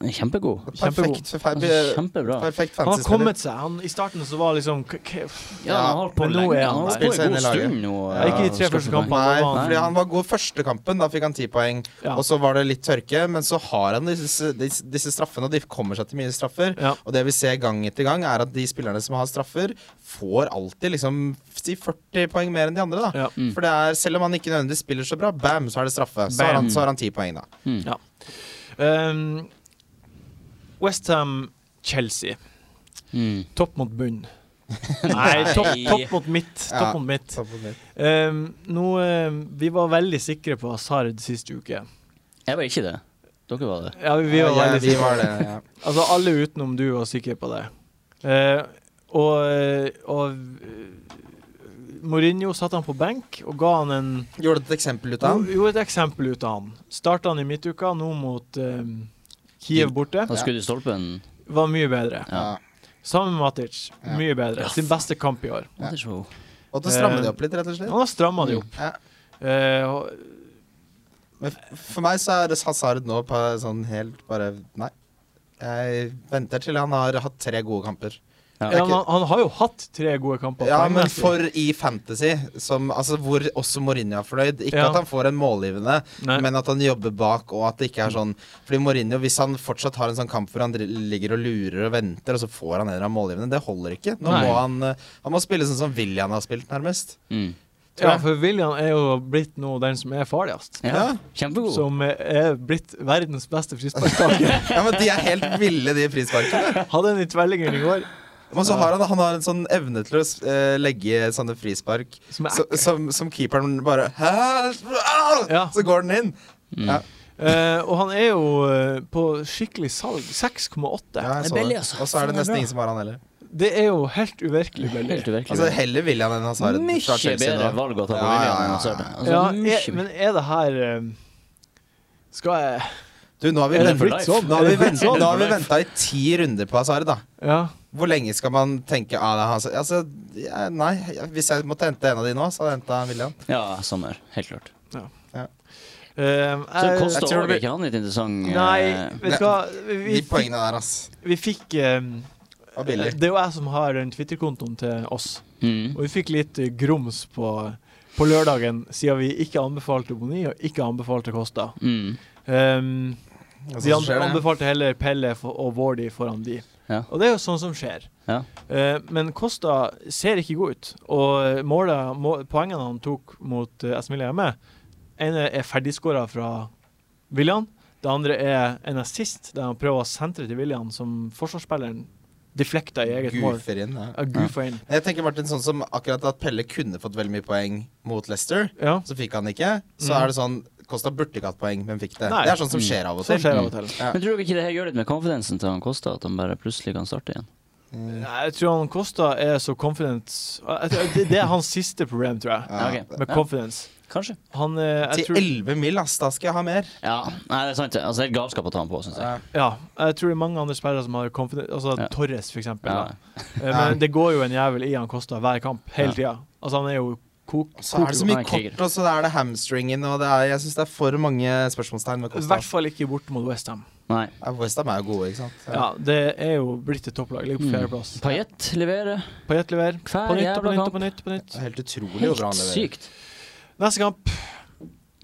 Han er Kjempegod. Kjempegod. Perfekt, for- Altså, kjempebra. perfekt Han har fantasy-spiller. kommet seg. Han, I starten så var liksom k k Ja, han har holdt på Men nå lenge. er han Han har holdt der. på en god Spilt seg inn i stund nå. eh, Ja, ikke de tre skal første få poeng. kampene. Nei, Han var- fordi han var god første kampen. Da fikk han ti poeng. ja. Og så var det litt tørke, men så har han disse, disse, disse straffene, og de kommer seg til mye straffer. Ja. Og det vi ser gang etter gang, er at de spillerne som har straffer, får alltid liksom si 40 poeng mer enn de andre, da. Ja. Mm. For det er, selv om han ikke nødvendigvis spiller så bra, bam, så er det straffe. Så har, Bam. han, så har han 10 poeng, da. Mm. Ja. Um, Westham-Chelsea. Mm. Topp mot bunn. Nei, topp topp mot midt. Ja. Topp mot midt. Um, nå, eh, vi var veldig sikre på Hazard sist uke. Jeg var ikke det. Dere var det. Ja, vi, vi var ja, veldig vi sikre. var det. Ja. Altså, alle utenom du var sikre på det. Eh, og og eh, Mourinho satte han på benk og ga han en Gjorde du et eksempel ut av han? Gjorde et eksempel ut av han. Starta han i midtuka, nå mot eh, Kiev borte. Han skudd i stolpen. Var mye bedre. Ja. Ja. Sammen med Matic. Ja. Mye bedre. Sin beste kamp i år. Det er så- Og til å Eh, stramme det opp litt, rett og slett. Han har stramma det opp. Ja. Eh, og- Men f- for meg så er Hazard nå på sånn helt bare Nei. Jeg venter til han har hatt tre gode kamper. Ja. ja, men han, han har jo hatt tre gode kamper. Ja, men poengmessig. for i Fantasy, som, altså, hvor også Mourinho er fornøyd Ikke Ja. at han får en målgivende, Nei. men at han jobber bak, og at det ikke er sånn Fordi Mourinho, hvis han fortsatt har en sånn kamp hvor han dri- ligger og lurer og venter, og så får han en eller annen målgivende, det holder ikke. Nå Nei. må han, eh, han må spille sånn som William har spilt, nærmest. Mm. Ja, for William er jo blitt nå den som er farligst. ja. Ja. Kjempegod. Som er blitt verdens beste frisparktaker. Ja, men De er helt ville, de frisparkene. Hadde en i tvellingen i går. Men så har han, han har en sånn evne til å eh, legge sånne frispark Som er så, som, som keeperen bare Hæ? Au! Ja. Så går den inn. Mm. Ja. Eh, og han er jo eh, på skikkelig salg. 6,8. Ja, jeg Det er så billig, det. altså. Og så er Sånn Faen, det det er nesten bra. ingen som har han heller. Det er jo helt uvirkelig billig. Helt uvirkelig. Altså Heller William enn Hazard. fra mye Chelsea bedre nå. valg å ta på Ja, ja, William enn ja, å Sørbe. Altså, Ja, mye er, men er det her eh, Skal jeg Du, nå har vi Er det vent- for blitt life? sånn? nå har Er vi det blitt vent- sånn? nå har vi venta i ti runder på Hazard, da. Ja. Hvor lenge skal man tenke ah, det er Hazard? Altså, ja, nei, ja, hvis jeg måtte hente en av de nå, så hadde jeg henta William. Ja, sommer. Helt klart. Eh, Så det jeg- jeg koster tror også det- ikke han litt interessant eh, Nei, vet du hva De Vi, fikk- poengene der, ass. vi fikk eh, Var billig. Det er jo jeg som har den Twitter-kontoen til oss. mm. Og vi fikk litt eh, grums på, på lørdagen, siden vi ikke anbefalte Boni og ikke anbefalte Kosta. Mm. Um, Og Altså, så vi an skjer det. anbefalte heller Pelle for, og Wardy foran de. Ja. Og det er jo sånn som skjer. Ja. Eh, men Kosta ser ikke god ut. Og målet, må, poengene han tok mot uh, Esmila hjemme, ene er ferdigskåra fra William. Det andre er en assist der han prøver å sentre til William, som forsvarsspilleren deflekta i eget mål. Goofer inn. Ja. Ja, Goofa inn. Jeg tenker Martin, sånn som akkurat at Pelle kunne fått veldig mye poeng mot Leicester, Ja, så fikk han ikke. Så Mhm. er det sånn Kosta burde ikke hatt poeng, men fikk det. Nei. Det er sånn som Mm. skjer av og så til. skjer det av og til. Ja. Men tror dere ikke det her gjør litt med konfidensen til han Kosta, at han bare plutselig kan starte igjen? Mm. Nei, jeg tror han Kosta er så confident Jeg tror- Det, det er hans siste problem, tror jeg. Ja. Ja, ok. Med confidence. Kanskje. Han eh, jeg Til tror, 11 mil, ass. Da skal jeg ha mer. Ja, nei, det er sant. det. Altså, det er galskap å ta han på, syns jeg. Ja. Ja, jeg tror det er mange andre spillere som har confidence Altså Ja. Torres, for eksempel. Ja. da. Eh, Men det går jo en jævel i han Kosta hver kamp, hele Ja. tida. Altså, han er jo kok... Så er det så Kokos- mye Nei, kriger. kort, og så er det hamstringen, og det er, jeg syns det er for mange spørsmålstegn ved I Costa. hvert fall ikke borte mot Westham. Nei. Ja, Westham er jo gode, ikke sant? Ja. Ja, det er jo blitt et topplag. Ligger på Mm. fjerdeplass. Payet leverer. Payet leverer. Hver På nytt og på jævla nytt og kamp. på nytt. og på nytt Det er helt utrolig hvor bra Helt han leverer. sykt. Neste kamp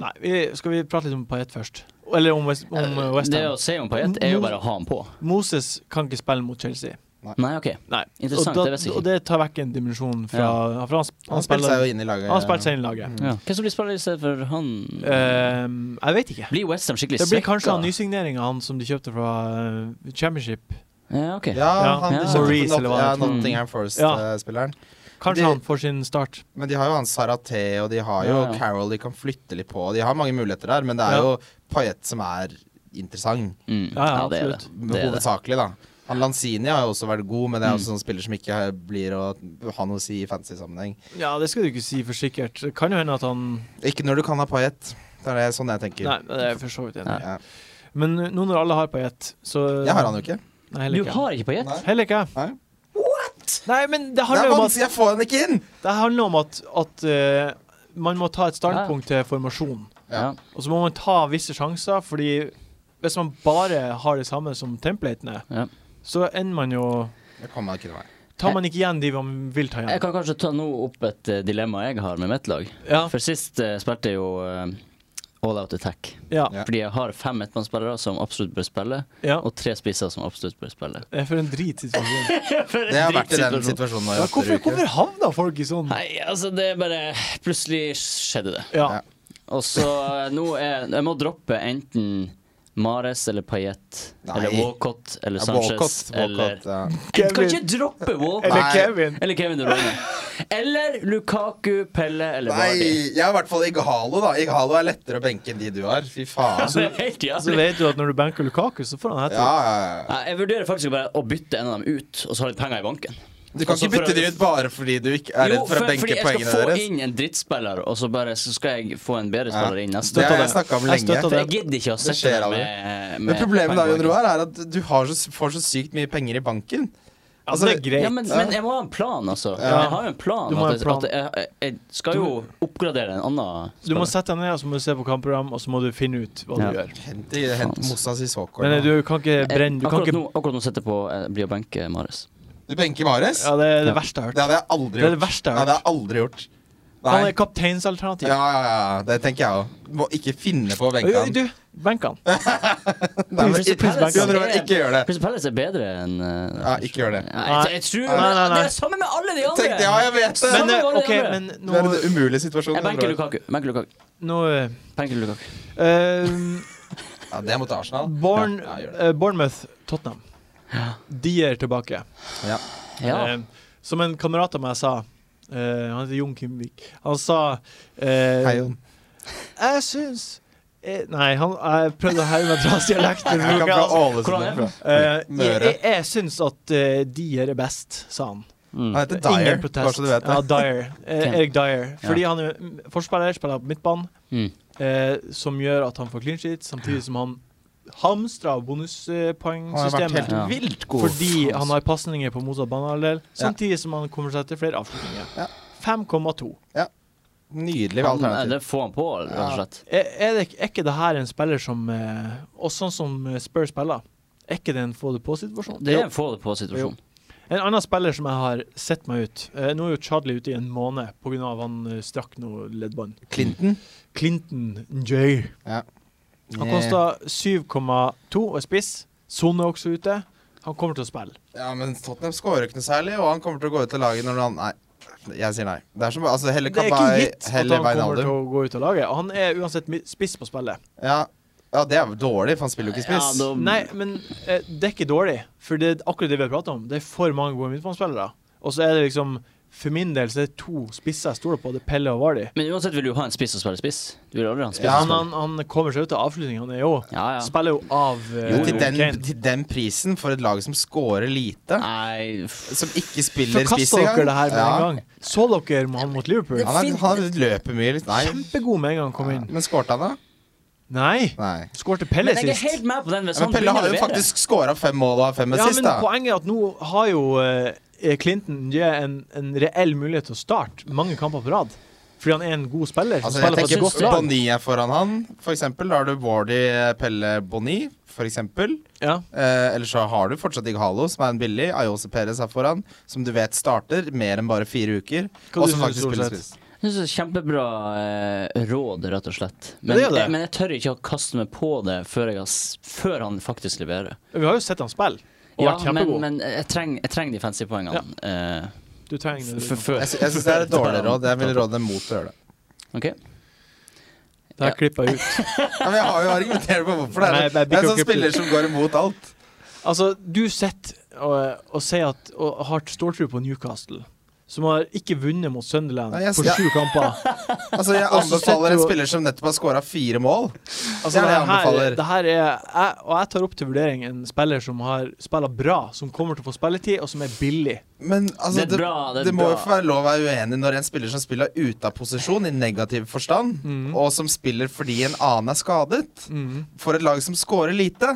Nei, vi, skal vi prate litt om Payet først? Eller om West- om, eh, Det Westham. å si om Payet er jo bare å ha han på. Moses kan ikke spille mot Chelsea. Nei, OK. Nei. Interessant, og, da, det visste jeg ikke. og det tar vekk en dimensjon fra, for han, sp- Han han spilte seg spiller jo inn i Mm. laget. Han spilte seg inn i laget. Ja. Hvem som blir spiller i stedet for han? Ehm, jeg vet ikke. Blir Westham skikkelig Det blir kanskje svekka? han nysigneringa han som de kjøpte fra eh, Championship. Ja, OK. Ja, Ja. han Ja. de kjøpte Maurice, Not- eller hva ja, han Mm. heter. Nottingham eh, Ja. Forest-spilleren. Kanskje De- han får sin start. Men de har jo han Sarate, og de har jo Ja, ja. Carol de kan flytte litt på. De har mange muligheter der, men det er Ja. jo Payet som er interessant. Mm. Ja, ja, det er det. Det Mm. er det. Hovedsakelig, da. Han Lanzini har jo også vært god, men det er også en spiller som ikke blir å ha noe å si i fantasy-sammenheng. Ja, det skal du ikke si for sikkert. Det kan jo hende at han Ikke når du kan ha Payet. Det er det sånn jeg tenker. Nei, det er jeg for så vidt enig i. Ja. Men nå når alle har Payet, så Jeg har han jo ikke. Nei, heller Du ikke. har ikke Payet? Nei. Heller ikke. Nei. Nei, men det Det handler er jo om at, vanskelig, jeg får den ikke inn! det handler om at, at eh, man må ta et standpunkt til formasjonen. Ja. Og så må man ta visse sjanser, fordi hvis man bare har det samme som templatene, Ja. så ender man jo Jeg kommer meg ikke til meg. Tar man ikke igjen de man vil ta Jeg igjen. kan kanskje ta nå opp et eh, dilemma jeg har med mitt lag. Ja, For sist eh, spilte jeg jo eh, All Out Attack. ja, Ja. Fordi jeg har fem midtbanespillere som absolutt bør spille, ja. og tre spisser som absolutt bør spille. Det er for en dritsituasjon. Det har vært i den situasjonen nå i Ja, åtte hvorfor, uker. hvorfor havna folk i sånn? Nei, altså, det er bare Plutselig skjedde det. Ja. Og så eh, nå er Jeg må droppe enten Mares eller Payet Nei. eller Walcott eller Ja, Sanchez Walcott, eller Walcott, ja. Jeg kan ikke droppe Walcott Eller Nei. Kevin. eller Kevin De Bruyne. Eller Lukaku, Pelle eller Vardi. Nei, jeg er i hvert fall Igalo, da. Igalo er lettere å benke enn de du har. Fy faen. Altså, Det er helt Så jævlig. vet Altså, du at når du banker Lukaku, så får han Ja, hette ja, Nei, Jeg vurderer faktisk bare å bytte en av dem ut, og så ha litt penger i banken. ja. Du kan Altså, ikke bytte for- de ut bare fordi du ikke er redd for, å for- benke fordi jeg poengene skal få deres. inn en drittspiller, og så bare så skal jeg få en bedre Ja. spiller inn neste. Det har det. jeg snakka om Jeg lenge. støtter For det. jeg gidder ikke å Det sitte skjer der aldri. med, med Men problemet da, penger. Jon Roar, er at du har så, får så sykt mye penger i banken. Altså, det er greit. Ja, men, men jeg må ha en plan, altså. Ja. Jeg har jo en plan. Du må ha at en jeg, plan. at jeg, jeg, jeg skal jo oppgradere en annen Du må spiller. sette deg ned og så må du se på kampprogram, og så må du finne ut hva Ja. du gjør. Hent, hent Faen. Moussa Sissoko. Men eh, eller du noe. kan ikke Jeg- brenne Du kan akkurat, ikke nå, akkurat nå sitter jeg på Jeg blir å benke Mares. Du benker Mares? Ja, det er det Ja. verste jeg Det har hørt. hadde jeg aldri Det er det gjort. verste jeg Nei, det har hadde hørt. jeg aldri gjort. Nei. Han er kapteinsalternativ. Ja, ja, ja. Det tenker jeg òg. Må ikke finne på å benke Oi, han. Du, benk han. Nei, men Crystal ikke- Palace Bjørn Roar, er- Ikke gjør det. Crystal Palace er bedre enn eh, Ja, ikke gjør det. Nei, jeg, jeg tror Nei, nei, nei. Det er samme med alle de andre! Tenkte, ja, jeg vet det. Men, Samme eh, var det OK, andre. men Det er nå, en umulig situasjon. Jeg benker Lukaku. Benker Lukaku. nå eh, Benker Lukaku. eh, Ja, det er mot Arsenal. Bourne, Ja, gjør det. eh, Bournemouth, Tottenham. De er tilbake. Ja. Eh, som en kamerat av meg sa eh, Han heter Jon Kimvik. Han sa eh, Hei, Jon. Jeg syns eh, Nei, han, jeg prøvde å herme med dialekten. Jeg kan fra Ålesund. Hvordan er jeg, bro. Eh, jeg, Møre. jeg, jeg syns at eh, Dyer er best, sa han. Mm. Han heter Ingen Dyer, protest. bare så du vet det. Ja, Dyer. Eh, Hvem? Erik Dyer. Fordi han er mm, forspiller, spiller på midtbanen, Mm. eh, som gjør at han får clean sheet, samtidig som han hamstrer av Han har vært bonuspoengsystemet. helt Ja. vilt god. Fordi han har pasninger på motsatt banehalvdel, samtidig som han kommer seg til flere avslutninger. Ja. 5,2. Nydelig Han, eh, alternativ. det får han på, rett og slett. Er, er, det- er ikke det her en spiller som eh, Og sånn som eh, Spurs spiller, er ikke det en få det på-situasjon? Det er en få det på-situasjon. En annen spiller som jeg har sett meg ut eh, Nå er jo Chadley ute i en måned pga. han eh, strakk noe leddbånd. Clinton. Clinton Njay. Han kosta 7,2 og er spiss. Son er også ute. Han kommer til å spille. Ja, men Tottenham skårer ikke noe særlig, og han kommer til å gå ut av laget når han Nei, jeg sier nei. Det er som altså, heller Det er ikke Kabay, gitt at heller han kommer til Wijnaldum. å gå ut av laget. Han er uansett mi- spiss på spillet. Ja. ja, det er jo dårlig, for han spiller jo ikke Ja, spiss. da- Nei, men eh, det er ikke dårlig. For det er akkurat det vi har pratet om. Det er for mange gode midtbanespillere. Og så er det liksom For min del så er det to spisser jeg stoler på. Det er Pelle og Vardi. Men uansett vil du ha en spiss som spiller spiss. Du vil aldri ha en spiss Ja, som han, spiller han, han kommer seg ut av avslutning. Han er jo Ja, ja. Spiller jo av eh, Men til, den, Kane. til den prisen, for et lag som scorer lite, Nei f- som ikke spiller spiss Forkasta engang dere det her med Ja. en gang? Så dere han mot Liverpool? Han, er, han er- løper mye. litt- Nei. Kjempegod med en gang han kom inn. Men skårte han, da? Nei! Nei. Skårte Pelle Men jeg er sist. helt med på den. Hvis Ja, men han Pelle har begynner å jo levere. faktisk skåra fem mål og har fem Ja, assist, men da. poenget er at nå har jo eh, Clinton Njay en, en reell mulighet til å starte mange kamper på rad. Fordi han er en god spiller. som Altså, jeg spiller på et tenker godt lag. Bonny er foran han, for eksempel. Da har du Wardy, Pelle, Bonny, for eksempel. Ja. Eh, eller så har du fortsatt Ighalo, som er en billig. Ayose Perez er foran, som du vet starter mer enn bare fire uker. Hva du og som synes, faktisk spiller Solseth? spiss. Jeg synes det er Kjempebra eh, råd, rett og slett. Men, det er det. Jeg, men jeg tør ikke å kaste meg på det før, jeg har, s- før han faktisk leverer. Vi har jo sett han spille, og Ja, vært men, kjempegod. men jeg trenger jeg trenger de fancy poengene. eh, du trenger det. f- f- før Jeg, sy- jeg syns det er et dårlig råd. Jeg vil råde dem mot å gjøre det. Ok. Det her klipper jeg ut. Ja, men jeg har jo argumentert på hvorfor det Nei, er jeg bare det. Det er bikker en sånn opp i- spiller som går imot alt. Altså, du sitter og, og sier at og har ståltro på Newcastle, som har ikke vunnet mot Sunderland Nei, jeg på sier- sju kamper. Altså, jeg Og så setter anbefaler du- en spiller som nettopp har scora fire mål. Altså, det, Det er det jeg her, anbefaler. det her er jeg, Og jeg tar opp til vurdering en spiller som har spiller bra, som kommer til å få spilletid, og som er billig. Men altså, Det det, er bra, det det, er må jo bra. få være lov å være uenig når en spiller som spiller ute av posisjon i negativ forstand, Mm. og som spiller fordi en annen er skadet, for et lag som scorer lite.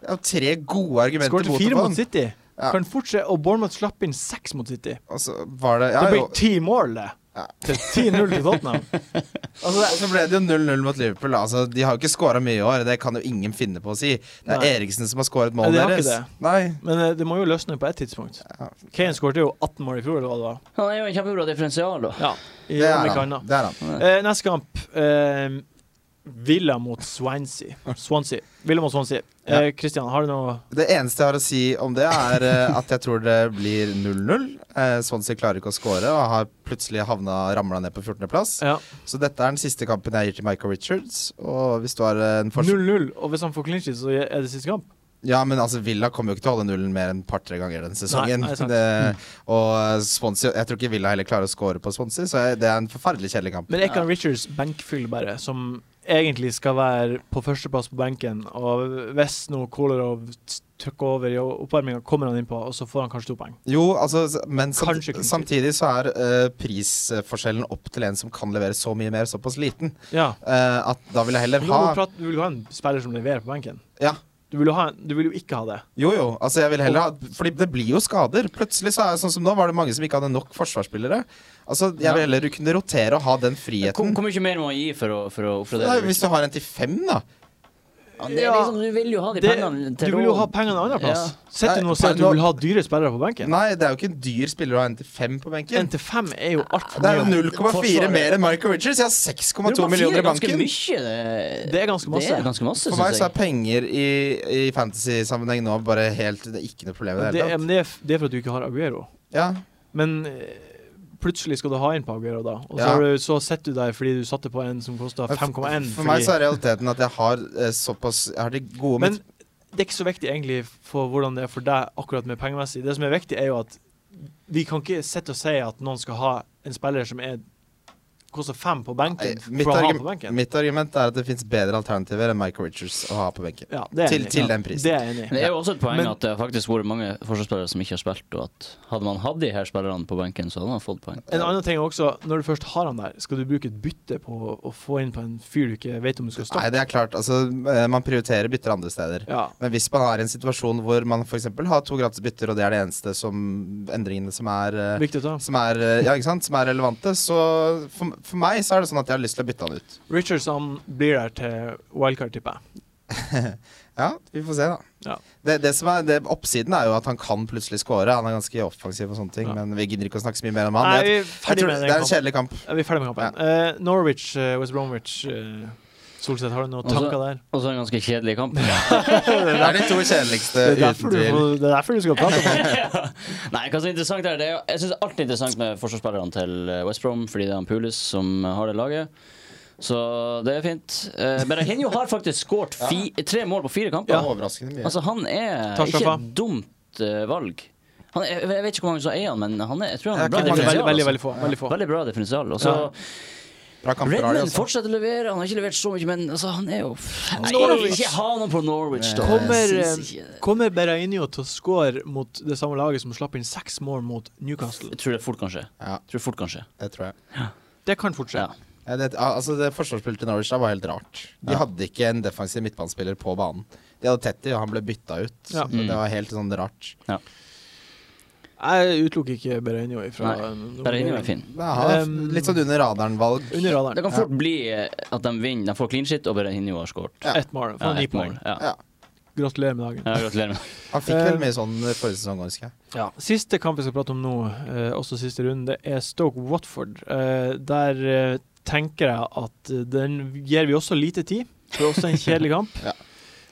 Det er jo tre gode argumenter Skåret mot fire det. mot City. Ja. Kan fortsette, og Bournemouth slapp inn seks mot City. Og så Altså, var det Ja, Det ble jo. ti mål, det. Ja. Til 10-0 til Tottenham. Altså, Og så ble det jo 0-0 mot Liverpool. da. Altså, de har jo ikke scora mye i år. Det kan jo ingen finne på å si. Det er Nei. Eriksen som har scoret målet Nei, de har deres. ikke Nei. Men eh, det må jo løsne på ett tidspunkt. Kane skårte jo 18 mål i fjor, eller hva det var. Han er jo en kjempebra differensial, da. Ja, i Det om er ikke han. annet. Det er han. Eh, neste kamp. Eh, Villa mot Swansea. Swansea. Villa mot Swansea. Eh, Christian, har du noe Det eneste jeg har å si om det, er eh, at jeg tror det blir 0-0. Eh, Swansea klarer ikke å score og har plutselig havna, ramla ned på 14.-plass. Ja. Så dette er den siste kampen jeg gir til Michael Richards. Og hvis du har eh, en forskjell 0-0. Og hvis han får clinch, så er det siste kamp. Ja, men altså Villa kommer jo ikke til å holde nullen mer enn et par-tre ganger denne sesongen. Nei, nei, sant. Mm. det, og eh, Swansea Jeg tror ikke Villa heller klarer å score på Swansea, så jeg, det er en forferdelig kjedelig kamp. Men Ekan Richards benkfyll, bare, som egentlig skal være på førsteplass på benken. Og hvis noe Kolarov trykker over i oppvarminga, kommer han innpå, og så får han kanskje to poeng. Jo, altså, s- men samt, Kanskje ikke. samtidig så er eh, prisforskjellen opp til en som kan levere så mye mer, såpass liten. Ja. eh, at da vil jeg heller Nå ha må Du prate- du vil ha en spiller som leverer på benken. Ja, Du vil jo, ha, du vil jo ikke ha det. Jo, jo. altså jeg vil heller ha Fordi det blir jo skader. Plutselig så er det sånn som nå var det mange som ikke hadde nok forsvarsspillere. Altså Jeg vil heller kunne rotere og ha den Hvor friheten. hvor mye mer må man gi for å, for å oppgradere? Nei, hvis du har en til fem, da. Ja, det er Ja. liksom, du vil jo ha de det pengene til du vil jo råd. ha pengene andre plass. Ja. Sitter du nå og sier at du vil ha dyre spillere på benken? Nei, det er jo ikke en dyr spiller å ha en til fem på benken. En til fem er jo altfor Det er mye. jo 0,4 mer enn Michael Richards. Jeg har 6,2 Fire millioner er i banken. Ganske mye, eh, det, Det er ganske masse. Det er ganske masse, For synes meg så jeg. er penger i, i fantasy-sammenheng nå bare helt Det er ikke noe problem i det Det, er- hele tatt. men det, er, f- det er for at du ikke har Aguero. Ja, Men eh, plutselig skal du ha en på Aguero, da. Og så, Ja. har du- så sitter du der fordi du satte på en som kosta Men f- 5,1. For meg fordi- så er realiteten at jeg har eh, såpass Jeg har de gode Men det er ikke så viktig egentlig for hvordan det er for deg akkurat med pengemessig. Det som er viktig, er jo at vi kan ikke sitte og si at noen skal ha en spiller som er koster fem på Nei, benken. mitt, for å ha argument, på benken. mitt argument er at det fins bedre alternativer enn Michael Richards å ha på benken. Ja, det er jeg til- enig i. til den prisen. Det er jeg enig i. Men Det er jo også et poeng Men- at det har faktisk vært mange forsvarsspillere som ikke har spilt, og at hadde man hatt de her spillerne på benken, så hadde man fått poeng. En annen ting er også, når du først har han der, skal du bruke et bytte på å- å få inn på en fyr du ikke vet om du skal Nei, stoppe? det er klart. Altså, eh, man prioriterer bytter andre steder. Ja. Men hvis man er i en situasjon hvor man f.eks. har to gratis bytter, og det er det eneste som endringene som er eh, Viktig å ta. som er, eh, ja, ikke sant? Som er relevante, så for, for meg så er det sånn at jeg har lyst til å bytte han ut. Richards han blir der til wildcard, tipper jeg. Ja, vi får se, da. Ja. Det, det som er, det, oppsiden er jo at han kan plutselig score. Han er ganske offensiv og sånne ting, Ja. men vi gidder ikke å snakke så mye mer om han. Nei, vi Jeg, er jeg ferdig tror med den det er en kampen. kjedelig kamp. Ja, Vi er ferdig med kampen. Eh, Norwich, eh, West Bromwich eh, Solseth, har du noen Og så- tanker Eh, der? Og så en ganske kjedelig kamp. Det er de to kjedeligste, Det er uten derfor du, tvil. det er derfor du skal prate om det. Nei, hva som er interessant her, det er jo Jeg syns alt er interessant med forsvarsspillerne til eh, West Brom, fordi det er han Pulis som eh, har det laget. Så det er fint. Eh, Berahino har faktisk skåret fi, tre mål på fire kamper. Ja. Overraskende mye. Altså, han er Tar ikke straffa. et dumt eh, valg. Han er, jeg vet ikke hvor mange som eier han, men han er, jeg tror han Ja, er bra Det ikke mange. er differensial. veldig, veldig, altså. veldig få. Veldig få. Veldig bra differensial. Og så Ja. altså- Bra kamper har de Redman også. fortsetter å levere. Han har ikke levert så mye, men altså, han er jo Nei, Norwich. Ikke ha noen på Norwich, da. Kommer, Jeg eh, synes ikke- Kommer Berrainio til å score mot det samme laget som slapp inn seks mål mot Newcastle? Jeg tror det fort kan skje. Ja. Jeg tror fort kan skje. Det tror jeg. Det kan fort skje. Ja. Ja, det, altså det Forsvarsspillet til Norwich der var helt rart. De hadde ikke en defensiv midtbanespiller på banen. De hadde Tetty, og han ble bytta ut. Ja. Så det var helt sånn rart. Jeg utelukker ikke Berrainio ifra Nei, en- Berahino er fin. Ja, han var Um, litt sånn under radaren-valg. Under Det radaren. kan fort bli eh, at de vinner. De får clean shit, og Berahino har skåret. Ja. Ett mål. Få Ja, ni ett mål. poeng. Ja. Ja. Gratulerer med dagen. Ja, gratulerer med Han fikk vel Um, mye sånn forrige sesong òg, husker jeg. Ja. Siste kamp vi skal prate om nå, eh, også siste runde, er Stoke Watford. Eh, der eh, tenker jeg at eh, den gir vi også lite tid. Det er også en kjedelig kamp. Ja.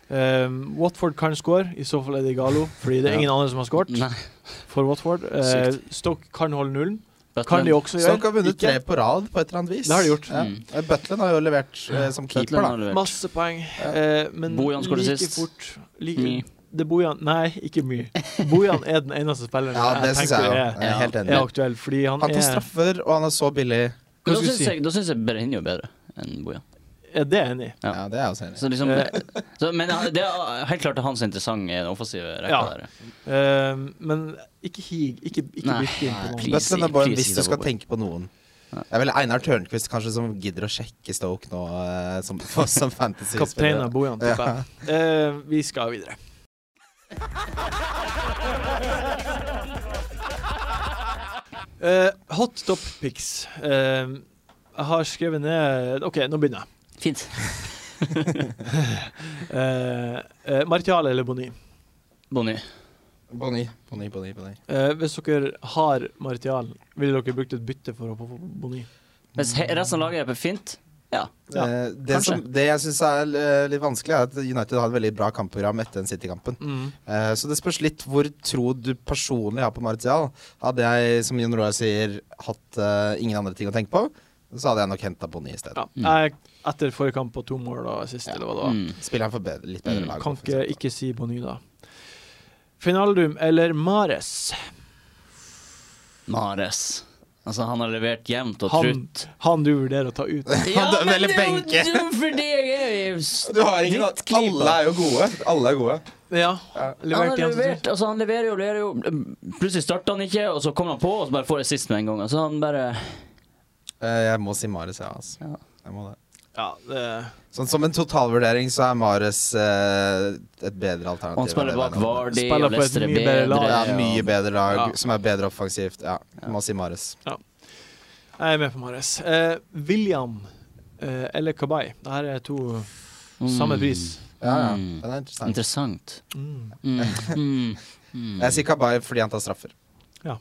Eh, Watford kan score, i så fall er det Galo, fordi det er ingen andre som har skåret Nei, for Watford. Eh, Stoke kan holde nullen. Kan Butland- de også gjøre. Stoke har vunnet Ikke. tre på rad på et eller annet vis. Det har de gjort. Ja. Mm. Eh, Butland har jo levert eh, som Butland keeper, har da. levert. Masse poeng, eh, men Bojan skårte like sist. Mm. fort like, Mye. Det er Bojan Nei, ikke mye. Bojan er den eneste spilleren Ja, det syns jeg jo. er, Jeg er helt er enig. aktuell, fordi han, Han tar er straffer, og han er så billig. Hva skal Men Da vi syns si? jeg, da synes jeg Berahino er bedre enn Bojan. Ja, det er jeg enig i. Ja. Ja, det er jeg også enig i. Så liksom, Eh. så, men han- det er helt klart hans interessant er den offensive rekka Ja. der. Eh, men ikke hig, ikke, ikke Nei, bytte inn på nei, noen. please. Best denne ballen please, hvis du skal Liverpool. tenke på noen. Ja. Det er vel Einar Tørnquist kanskje som gidder å sjekke Stoke nå eh, som, som Kaptein fantasy-spiller. av Bojan, tipper jeg. Eh, vi skal videre. Eh, hot top pics. Eh, jeg har skrevet ned OK, nå begynner jeg. Fint. Eh, eh, Martial eller Boni? Bonny. Boni, Boni, Boni, Boni. Eh, hvis dere har Martial, ville dere brukt et bytte for å få Boni? Hvis he- resten av laget er fint, ja. Ja, Eh, det, kanskje. som, det jeg syns er eh, litt vanskelig, er at United har et veldig bra kampprogram etter den City-kampen. Mm. Eh, så det spørs litt hvor tro du personlig har på Martial. Hadde jeg, som Jon Roar sier, hatt eh, ingen andre ting å tenke på, så hadde jeg nok henta Boni i stedet. Ja. Jeg, etter forrige kamp på to mål og sist, eller hva det var. Mm. Spiller han for bedre, litt bedre Mm, lag. Kan ikke, offensivt. ikke si Boni, da. Finaldum eller Mares? Mares. Altså, han har levert jevnt og Han, trutt. han du vurderer å ta ut? Han dømmer eller benke. jo for det jeg er Du har ikke noe Alle er jo gode. Alle er gode. Ja. Han Levert har igjen som levert, altså han leverer jo, leverer jo Plutselig starter han ikke, og så kommer han på, og så bare får assist med en gang. Altså han bare Eh, jeg må si Marius, jeg, altså. Ja. Jeg må det. Ja, det Sånn Som en totalvurdering så er Mares eh, et bedre alternativ. Han spiller enn bak det Wijnaldum. Vardy, Spiller og på et Leicester er mye bedre bedre. lag. Ja, mye bedre lag, Ja. som er bedre offensivt. Ja, må si Mares. Jeg er med på Mares. Eh, William eh, eller Kabay. Det her er to Mm. samme pris. Ja, ja. Mm. Den er interessant. Interessant. Mm. Mm. Mm. Mm. Jeg sier Kabay fordi han tar straffer. Ja,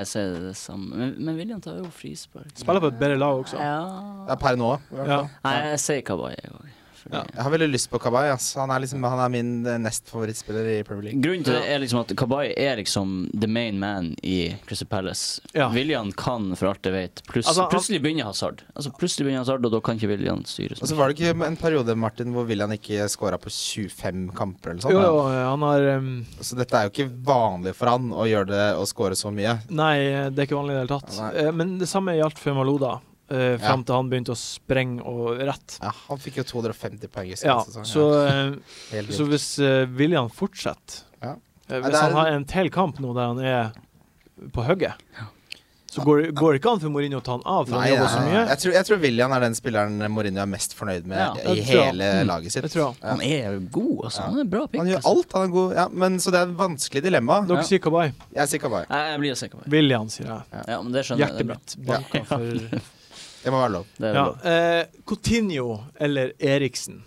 jeg ser det samme. Men, men William tar jo frispark. Spiller på et bedre lag også. Det Ja. er per nå. i hvert Ja. fall. Nei, jeg sier Kabay òg. Ja. Jeg har veldig lyst på Kabay. ass. Han er, liksom, han er min eh, nest favorittspiller i Premier League. Grunnen til det er liksom at Kabay er liksom the main man i Crystal Palace. Ja. William kan, for alt jeg vet, pluss, Altså, han- plutselig begynner Hazard. Altså, plutselig begynner Hazard, og da kan ikke William styre. så Og så mye. Altså, var det ikke en periode Martin, hvor William ikke scora på 25 kamper. eller sånt, Jo, da. jo, han har em, Så dette er jo ikke vanlig for han å gjøre det og score så mye. Nei, eh, det er ikke vanlig i det hele tatt. Nei. Eh, men det samme gjaldt for Maloda, eh, Ja. fram til han begynte å sprenge og rett. Ja, han fikk jo 250 poeng i sin Ja, sesong. så, eh, ja. Helt så vilt. hvis eh, William fortsetter Ja. eh, Nei, Hvis det er- han har en til kamp nå der han er på hugget, så går, det- går det ikke an for Mourinho å ta han av, for Nei, han jobber ja, så mye. Jeg tror, jeg tror William er den spilleren Mourinho er mest fornøyd med Ja, i det tror jeg. Mm, hele laget sitt. Det tror jeg. Ja. Han er jo god, altså. Ja. Han er en bra pick. Han gjør altså. alt. Han er god. Ja, men, så det er et vanskelig dilemma. Dere Ja. sier Kabay. Jeg sier Kabay. Nei, jeg blir å si Kabay. William, sier jeg. Ja, men det skjønner Hjertet jeg. mitt banker for Det må være lov. Det er ja. bra. eh, Coutinho eller Eriksen?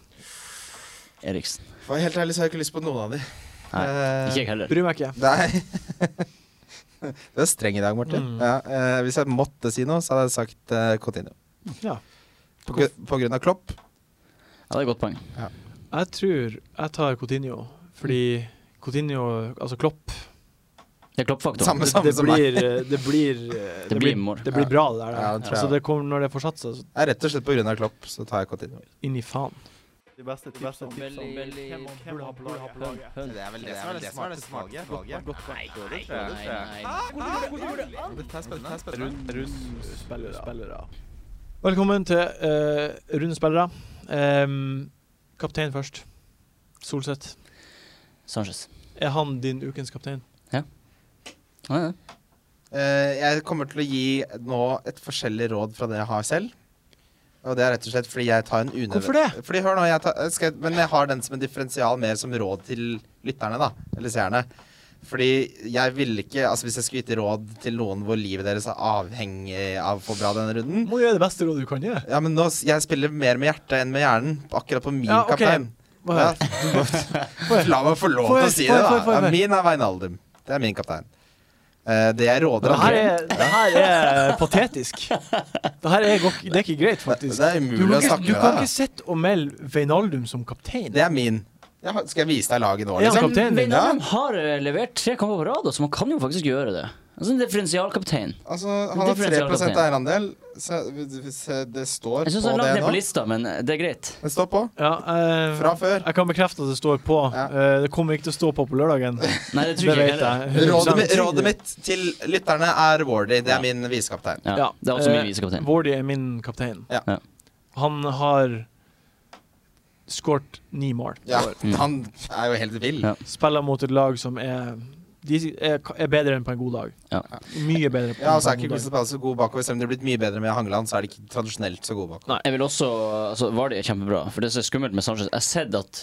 Eriksen. For å være helt ærlig så har jeg ikke lyst på noen av de. Nei, Eh, Ikke jeg heller. Bryr meg ikke. Nei. du er streng i dag, Martin. Mm. Ja, eh, hvis jeg måtte si noe, så hadde jeg sagt eh, Coutinho. Ja. På, gru- på grunn av Klopp. Ja, det er et godt poeng. Jeg tror jeg tar Coutinho, fordi Coutinho, altså Klopp Det er kloppfaktor. Samme, det, samme det, som meg. blir, eh, det blir eh, Det blir mål. Det blir bra, det der. Ja, det tror jeg. altså, det kommer, når det får satt seg, så Nei, Rett og slett på grunn av Klopp, så tar jeg Coutinho. inn i faen. De beste tipsene. Det er vel det som er det smarteste valget. Nei, nei, Ah, Dette er spennende. Velkommen til eh, Runde spillere. Em, kaptein først. Solseth. Sanchez. Er han din ukens kaptein? Ja, ja. Eh, jeg kommer til å gi nå et forskjellig råd fra det jeg har selv. Og det er rett og slett fordi jeg tar en unødvendig Hvorfor det? Fordi hør nå, jeg tar, eh, skal, jeg- Men jeg har den som en differensial mer som råd til lytterne, da. Eller seerne. Fordi jeg ville ikke Altså Hvis jeg skulle gitt råd til noen hvor livet deres er avhengig av å få bra denne runden Må gjøre det beste rådet du kan gjøre. Ja, men nå, s- jeg spiller mer med hjertet enn med hjernen. Akkurat på min Ja, ok. kaptein. Hva Ja, er- du må- Få høre. La meg få lov Få høre, til å si få det, høre, få da. høre, få Ja, høre. Min er Veinaldum. Det er min kaptein. Eh, Det jeg råder Det her andre- er, det her er patetisk. Det her er, gok- det er ikke greit, faktisk. Det er Du umulig kan å ikke, snakke du med kan deg. ikke sitte og melde Veinaldum som kaptein. Det er min. Jeg har, skal jeg vise deg laget nå, Er han liksom? kapteinen din? Ja. Wijnaldum har eh, levert tre kamper på rad, så man kan jo faktisk gjøre det. Altså en differensialkaptein. Altså, han har 3 Differensialkaptein. eierandel. Så hvis det står Jeg på syns han er langt det ned nå. på lista, men eh, det er greit. Det står på. Ja, eh, Fra før. Jeg kan bekrefte at det står på. Ja. Eh, det kommer ikke til å stå på på lørdagen. Nei, det Det tror jeg vet ikke heller. jeg. 100%. Rådet mitt, rådet mitt til lytterne er Wardy. Det Ja. er min visekaptein. Ja, det er også eh, min visekaptein. Wardy er min kaptein. Ja. Ja. Han har skåret ni mål. i Ja, år. Mm. han er jo helt vill. Ja. Spiller mot et lag som er De er, er bedre enn på en god dag. Ja. Mye bedre. På Ja, og så enn er på en god dag. ikke Crystal Palace så god bakover. Selv om de har blitt mye bedre med Hangeland, så er de ikke tradisjonelt så gode bakover. Jeg vil også altså, Vardy er kjempebra, for det som er skummelt med Sanchez Jeg har sett at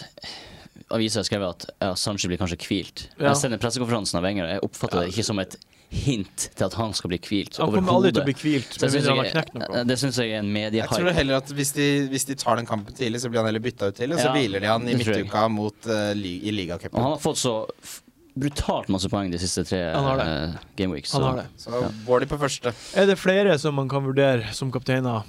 aviser har skrevet at ja, Sanchez blir kanskje hvilt. Jeg Ja. har sett den pressekonferansen av Wenger, og jeg oppfatter det ikke som et hint til at han skal bli hvilt Han kommer aldri til å overhodet. bli hvilt. med Så jeg synes mindre han har knekt ikke- noe. eh, Det syns jeg er en Jeg tror mediehype. heller at hvis de, hvis de tar den kampen tidlig, så blir han heller bytta ut tidlig. Og så Ja, hviler de han i det tror jeg. midtuka mot, eh, li, i Og ligacupen. han har fått så f brutalt masse poeng de siste tre Han har det. eh, game weeks. Han så- har det. Så Wardy på første. Er det flere som man kan vurdere som kapteiner?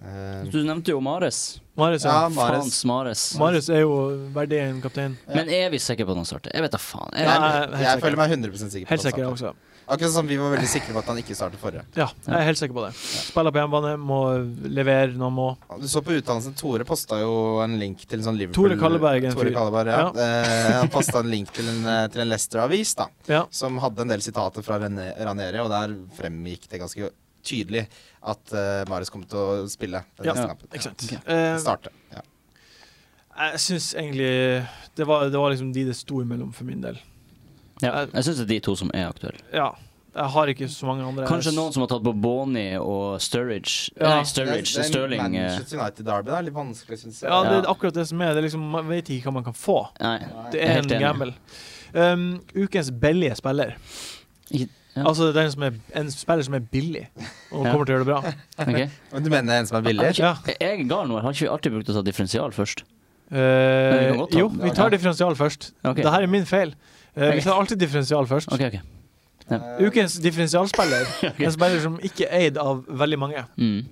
Eh, Du nevnte jo Mares. Mares, ja, ja. Mares. Faens Mares. Mares er jo verdig en kaptein. Ja. Men er vi sikre på at han starter? Jeg vet da faen. Jeg, Ja, Jeg, Nei, jeg, helt sikker. føler meg 100 sikker. Helt på at han sikker, jeg også. starter. Akkurat som vi var veldig sikre på at han ikke startet forrige. Ja, jeg er helt sikker på det. Spiller på hjemmebane, må levere når han må. Du så på uttalelsen. Tore posta jo en link til en sånn Liverpool Tore Kalleberg, en Tore fyr. Kalleberg, ja. Eh, han posta en link til en, eh, til en Leicester-avis, da. Ja. Som hadde en del sitater fra Rene- Ranieri, og der fremgikk det ganske tydelig at eh, Marius kom til å spille den Ja. neste kampen. Ikke sant. Ok. Eh, Starte. Ja. jeg syns egentlig det var, det var liksom de det sto imellom for min del. ja, jeg syns det er de to som er aktuelle. Ja. Jeg har ikke så mange andre. Kanskje noen som har tatt på Boni og Sturridge Ja. Nei, Sturridge, det er, det er Sterling eh, Manchester United-derby det er litt vanskelig, syns jeg. Ja, det er Ja. akkurat det som er. Det er liksom, man vet ikke hva man kan få. Nei. Det Jeg er er helt en enig. gamble. Um, ukens billige spiller. Ikke- ja. Altså den som er, en spiller som er billig og Ja. kommer til å gjøre det bra. ok. Men Du mener en som er billig? Ja. Jeg er gal nå. Har ikke vi alltid brukt å ta differensial først? vi Eh, kan godt ta jo, den. vi tar differensial først. Ok. Dette er min feil. Eh, Ok. Vi tar alltid differensial først. Ok, ok. Ja. Eh, Ukens differensialspiller. En spiller som ikke er eid av veldig mange. Mm.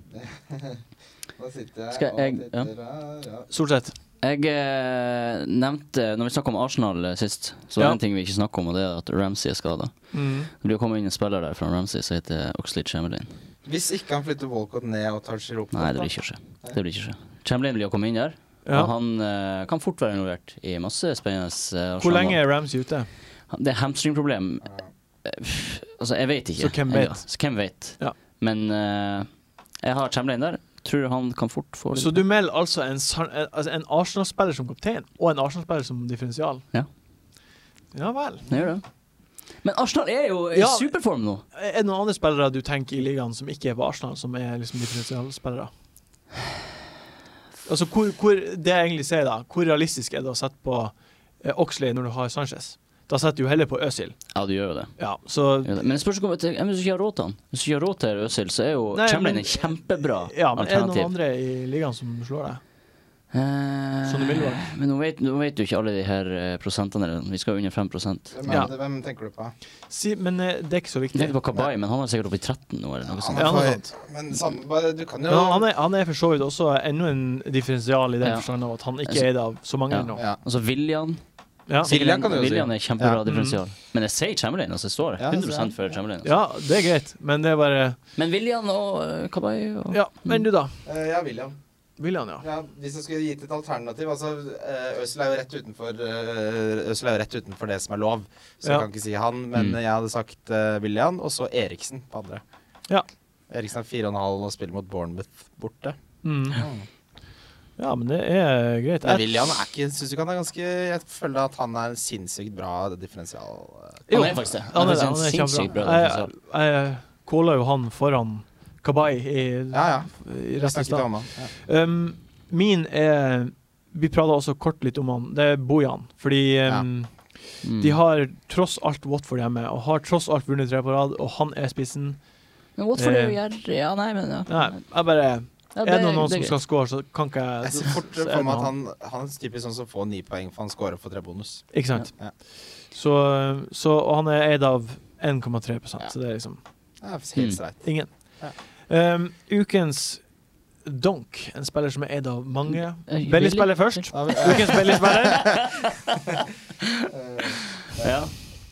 Da sitter jeg Skal og jeg- ja. titter her, ja. Stort sett. Jeg eh, nevnte, når vi snakket om Arsenal eh, sist, så var Ja. det en ting vi ikke snakket om, og det er at Ramsey er skadet Det blir jo kommet inn en spiller der fra Ramsey som heter Oxlade Chamberlain. Hvis ikke han flytter Walcott ned og tar Giroud Nei, det blir ikke å skje. Det blir ikke å skje. Chamberlain blir å komme inn der, Ja. og han eh, kan fort være involvert i masse spennende eh, Hvor lenge Arsenal-mål. er Ramsey ute? Det er hamstringproblem. Eh, pff, Altså, jeg vet ikke. Så hvem Jeg- vet? Så hvem vet? Ja. Men eh, jeg har Chamberlain der. Tror han kan fort få Så du melder altså en, san- en- altså en Arsenal-spiller som kaptein og en Arsenal-spiller som differensial? Ja. Ja vel. Jeg gjør det. Men Arsenal er jo i Ja. superform nå. Er det noen andre spillere du tenker i ligaen som ikke er på Arsenal, som er liksom differensialspillere? Altså, hvor, hvor, det jeg egentlig sier da, hvor realistisk er det å sette på eh, Oxley når du har Sanchez? Da setter du heller på Øzil. Ja, du gjør jo det. Ja, så Du gjør det. Men det spørs ikke om jeg hvis du ikke har råd til han. Hvis du ikke har råd til Øzil, så er jo Nei, Chamberlain men- et kjempebra ja, men Er det noen alternativ. andre i ligaen som slår deg? Eh, Som Sånn du vil være. men nå vet, nå vet du ikke alle de her eh, prosentene. eller noe. Vi skal jo under 5 Det Hvem, er Ja. det, hvem tenker du på? Si, men eh, det er ikke så viktig. er på Kabay, men han er sikkert oppe i 13 nå, eller noe sånt. Ja, noe får- sånt. Men samme, bare, du kan jo Men han, han, er, han er for så vidt også enda en differensial i den Ja. forstand av at han ikke Altså- er eid av så mange Ja. ennå. ja. Altså Viljan. Ja. Viljan kan du jo si. Viljan Altså, er kjempebra Ja. Mm. differensial. Men jeg sier Chamberlain, altså. Jeg står Ja, det ser 100 for Chamberlain. Altså. ja, det er greit, men det er bare Men William og eh, Kabay og Ja, men du, da? Eh, ja, William. William, ja. Ja, hvis jeg skulle gitt et alternativ altså, eh, Øzil er jo rett utenfor eh, Øzil er jo rett utenfor det som er lov, så Ja. jeg kan ikke si han. Men Mm. jeg hadde sagt eh, William, og så Eriksen på andre. Ja. Eriksen er fire og en halv og spiller mot Bournemouth borte. Mm. Ja, men det er greit. Men William er ikke Syns du ikke han er ganske Jeg føler at han er en sinnssykt bra differensial. eh, Han Jo. er faktisk det. Han er, faktisk han en er sinnssykt kjempebra. bra Jeg, differensial. jeg calla jo han foran Kabay i, Ja, ja. i Jeg resten av snakket stedet. om han. Ja. Um, min er Vi prata også kort litt om han. Det er Bojan. Fordi um, Mm. de har tross alt Watford hjemme, og har tross alt vunnet tre på rad, og han er spissen. Men Watford er jo Eh, gjerrig. Ja, nei, men ja. Nei, jeg bare Ja, Er det noen, det som greit. skal score, så kan ikke Jeg jeg ser fort så er for det meg at han. han, han er typisk sånn som får ni poeng, for han scorer for tre bonus. Ikke sant? Ja. Så, så og han er eid av 1,3 så det er liksom Det er helt streit. ingen. Ja. Um, ukens donk, en spiller som er eid av mange. Eh, Belly Willy? spiller først. Da vil- Ukens Belly-spiller. Ja.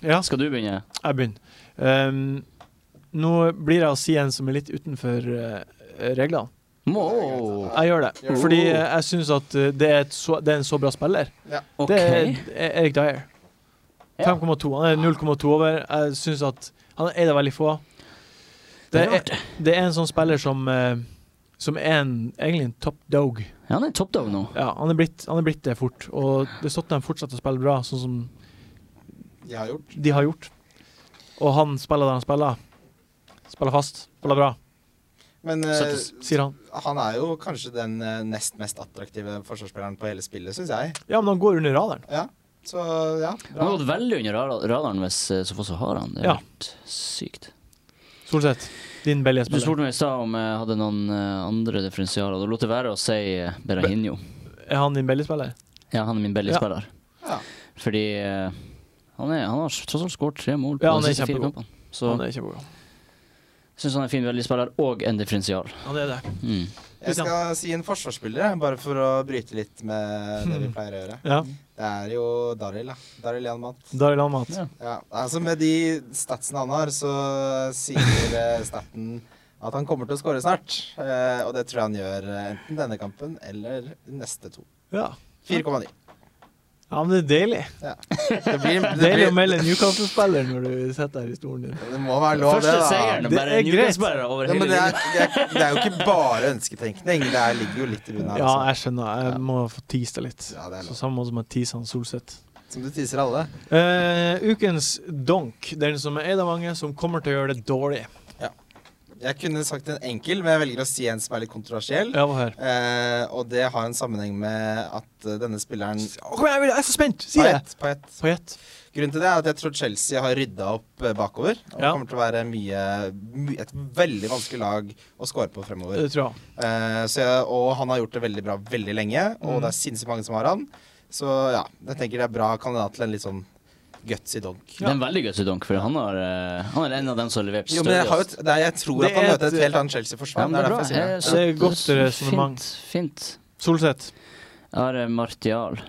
Ja, Skal du begynne? jeg begynner. Um, nå blir jeg å si en som er litt utenfor eh, reglene. Må Jeg gjør det, Gjør det. fordi jeg syns at eh, det er, et så, det er en så bra spiller. OK. Det er er Erik Dyer. Ja. 5,2. Han er 0,2 over. Jeg syns at han er det veldig få. Det Det er er, det er en sånn spiller som, eh, som er en, egentlig en top dog. Ja, han er top dog nå. Ja, han er blitt, han er blitt det fort. Og det Tottenham fortsetter å spille bra, sånn som Jeg har gjort de har gjort. Og han spiller der han spiller. Spiller fast, spiller bra, Men eh, Settes. sier han. han er jo kanskje den eh, nest mest attraktive forsvarsspilleren på hele spillet, syns jeg. Ja, men han går under radaren. Ja. Så ja, Han bra. har gått veldig under ra- radaren hvis eh, Sofoso har han. Det er Ja. helt sykt. Solseth, din belly Du spiller. spurte meg i stad om jeg hadde noen eh, andre differensialer. Da lot jeg være å si eh, Berahino. Er han din belly spiller? Ja, han er min Belly-spiller. Ja. Fordi eh, han, er, han har tross alt skåret tre mål på Ja, han de er siste fire kjempegod. kampene. Så Han er kjempegod. syns han er en fin Belly-spiller og en differensial. Han er det. Mm. Jeg skal si en forsvarsspiller, jeg, bare for å bryte litt med det vi pleier å gjøre. Ja. Det er jo Daril, da. Daril Janmat. Daril Amat. Ja. Ja, altså med de statsene han har, så sier eh, staten at han kommer til å skåre snart. Eh, og det tror jeg han gjør eh, enten denne kampen eller de neste to. Ja. 4,9. ja, men det er deilig. Det, blir- det, Deilig å blir- melde Newcastle-spiller når du sitter her i stolen din. det må være lov, det, Første seieren da. og Det er bare greit. Newcastle-spillere over Ja, men hele det, er, det, linja. er, det er jo ikke bare ønsketenkning. Det er, ligger jo litt i bunnen her. Ja, også. jeg skjønner. Jeg må få tease det litt. altså. Ja, det er Så lov. samme måte som jeg teaser han Solseth. Som du teaser alle. Eh, ukens donk, den som er eid av mange, som kommer til å gjøre det dårlig. Jeg kunne sagt en enkel, men jeg velger å si en som er litt kontroversiell. Ja, hva her? Eh, og det har en sammenheng med at eh, denne spilleren Å, Kom igjen, jeg vil- jeg er så spent! Si det! Payet, Payet. Payet. Grunnen til det er at jeg tror Chelsea har rydda opp eh, bakover. Og Ja. kommer til å være mye, my, et veldig vanskelig lag å score på fremover. Det tror jeg. Eh, så jeg, og han har gjort det veldig bra veldig lenge, og Mm. det er sinnssykt mange som har han. Så ja, jeg tenker det er bra kandidat til en litt sånn gutsy donk. Det er en veldig gøy Sudonk, for han har, eh, han er en av dem som har levert Jo, men jeg, har jo, stødigst. t- det er, jeg tror Det at han er møter et- et helt annet Chelsea-forsvar. men det er bra. derfor jeg sier det. Jeg- Det er godt fint, resonemang. Fint. Solseth. Jeg har eh, Martial.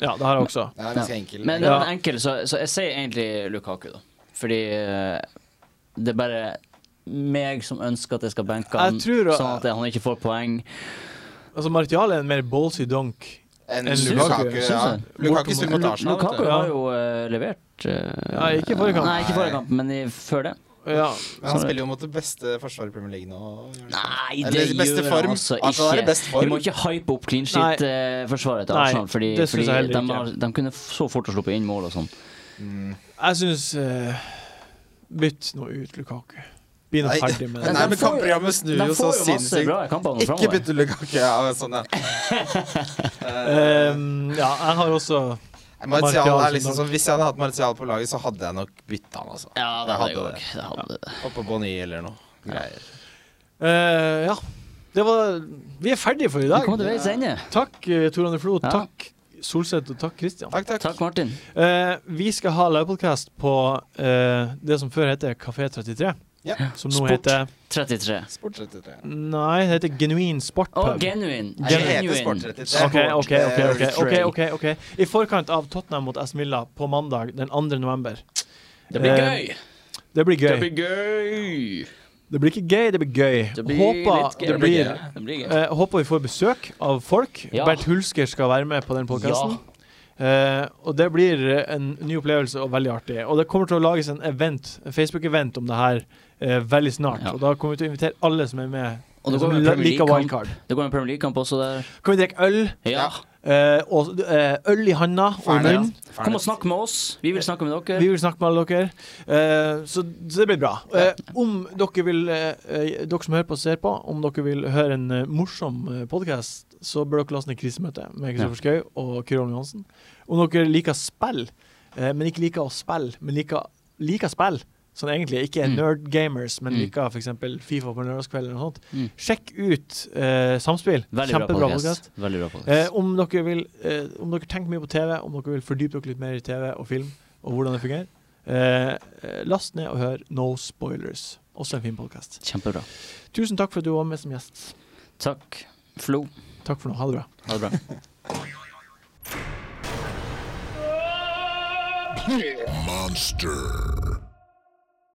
Ja, det har jeg også. Det er ganske enkel. Men Ja. den enkel, så, så jeg sier egentlig Lukaku, da. Fordi eh, det er bare meg som ønsker at jeg skal benke han, Jeg tror- sånn at han ikke får poeng. Altså, Martial er en mer ballsy donk. en en Lukaku, Lukaku, ja. synes jeg. Lukaku spiller mot Lu- Arsenal. vet Lukaku du. har jo eh, levert eh, Ja, ikke i forrige kamp. Nei, ikke i forrige kamp, men i, før det. Ja. Men han spiller jo mot det beste forsvaret i Premier League nå. Nei, Eller det i beste gjør form. han altså ikke. Arsenal er i best form. Vi må ikke hype opp clean shit-forsvaret til Nei, Arsenal, fordi, det synes fordi jeg heller de, ikke. har, de kunne f- så fort ha sluppet inn mål og sånn. Jeg syns eh, Bytt nå ut Lukaku. Begynn å Nei, ferdig med Nei, det. de men får jo- kampprogrammet snur De jo så får jo masse sinnssykt. bra kamper nå Ikke framover. bytte Lukaku. Ja, men sånn, ja. Eh, Ehm, ja, jeg har også Martial Martial er liksom som sånn Hvis jeg hadde hatt Martial på laget, så hadde jeg nok bytta han, altså. Ja, det hadde hadde jeg òg. Det hadde det. Oppå Bonny eller noe. Greier. eh, Ja. Det var Vi er ferdige for i Vi dag. kom til veis ende. Takk, eh, Tor André Flo. Ja. Takk, Solseth, og takk, Christian. Takk, takk. Takk, Martin. Eh, vi skal ha livepodkast på eh, det som før heter Kafé 33. Ja. Som nå Sport. heter 33. Sport 33. Nei, det heter Genuin Sportpub. Å, genuin. Nei, det heter Sport Genuin. 33. OK, OK, OK. ok, Det er ok, restrain. ok, ok. I forkant av Tottenham mot Aston Villa på mandag den 2. november. Det blir Eh, gøy. Det blir Det gøy. blir gøy. Det blir ikke gøy, det blir gøy. Det blir Håper litt gøy. det blir Det blir gøy. Eh, håper vi får besøk av folk. Ja. Bernt Hulsker skal være med på den podkasten. og det blir eh, en ny opplevelse og veldig artig. Og det kommer til å lages en event, en Facebook-event om det her eh, veldig snart. Ja. Og da kommer vi til å invitere alle som er med. Og det som går en la- Premier liker League-kamp wildcard. Det går en Premier League-kamp også der. Kan vi drikke øl? Ja. eh, og, eh, øl i handa og i Ferdig. altså. munnen. Ferdig. Kom og snakk med oss. Vi vil snakke med dere. Vi vil snakke med alle dere. Eh, så, så det blir bra. Eh, om dere vil eh, eh, Dere som hører på og ser på, om dere vil høre en eh, morsom eh, podkast, så bør dere laste ned krisemøte med Kristoffer Schau og Kyrre Holm Johansen. Om dere liker spill, eh, men ikke liker å spille, men liker, liker spill Sånn egentlig, Ikke er Mm. nerd gamers, men Mm. liker f.eks. Fifa på lørdagskvelden. eller noe sånt. Mm. Sjekk ut eh, Samspill. Veldig bra Kjempebra podkast. podcast. Veldig bra podcast. Eh, om, dere vil, eh, om dere tenker mye på TV, om dere vil fordype dere litt mer i TV og film, og hvordan det fungerer, eh, eh, last ned og hør No Spoilers. Også en fin podkast. Kjempebra. Tusen takk for at du var med som gjest. Takk, Flo. Takk for nå. Ha det bra. Ha det bra. Monster.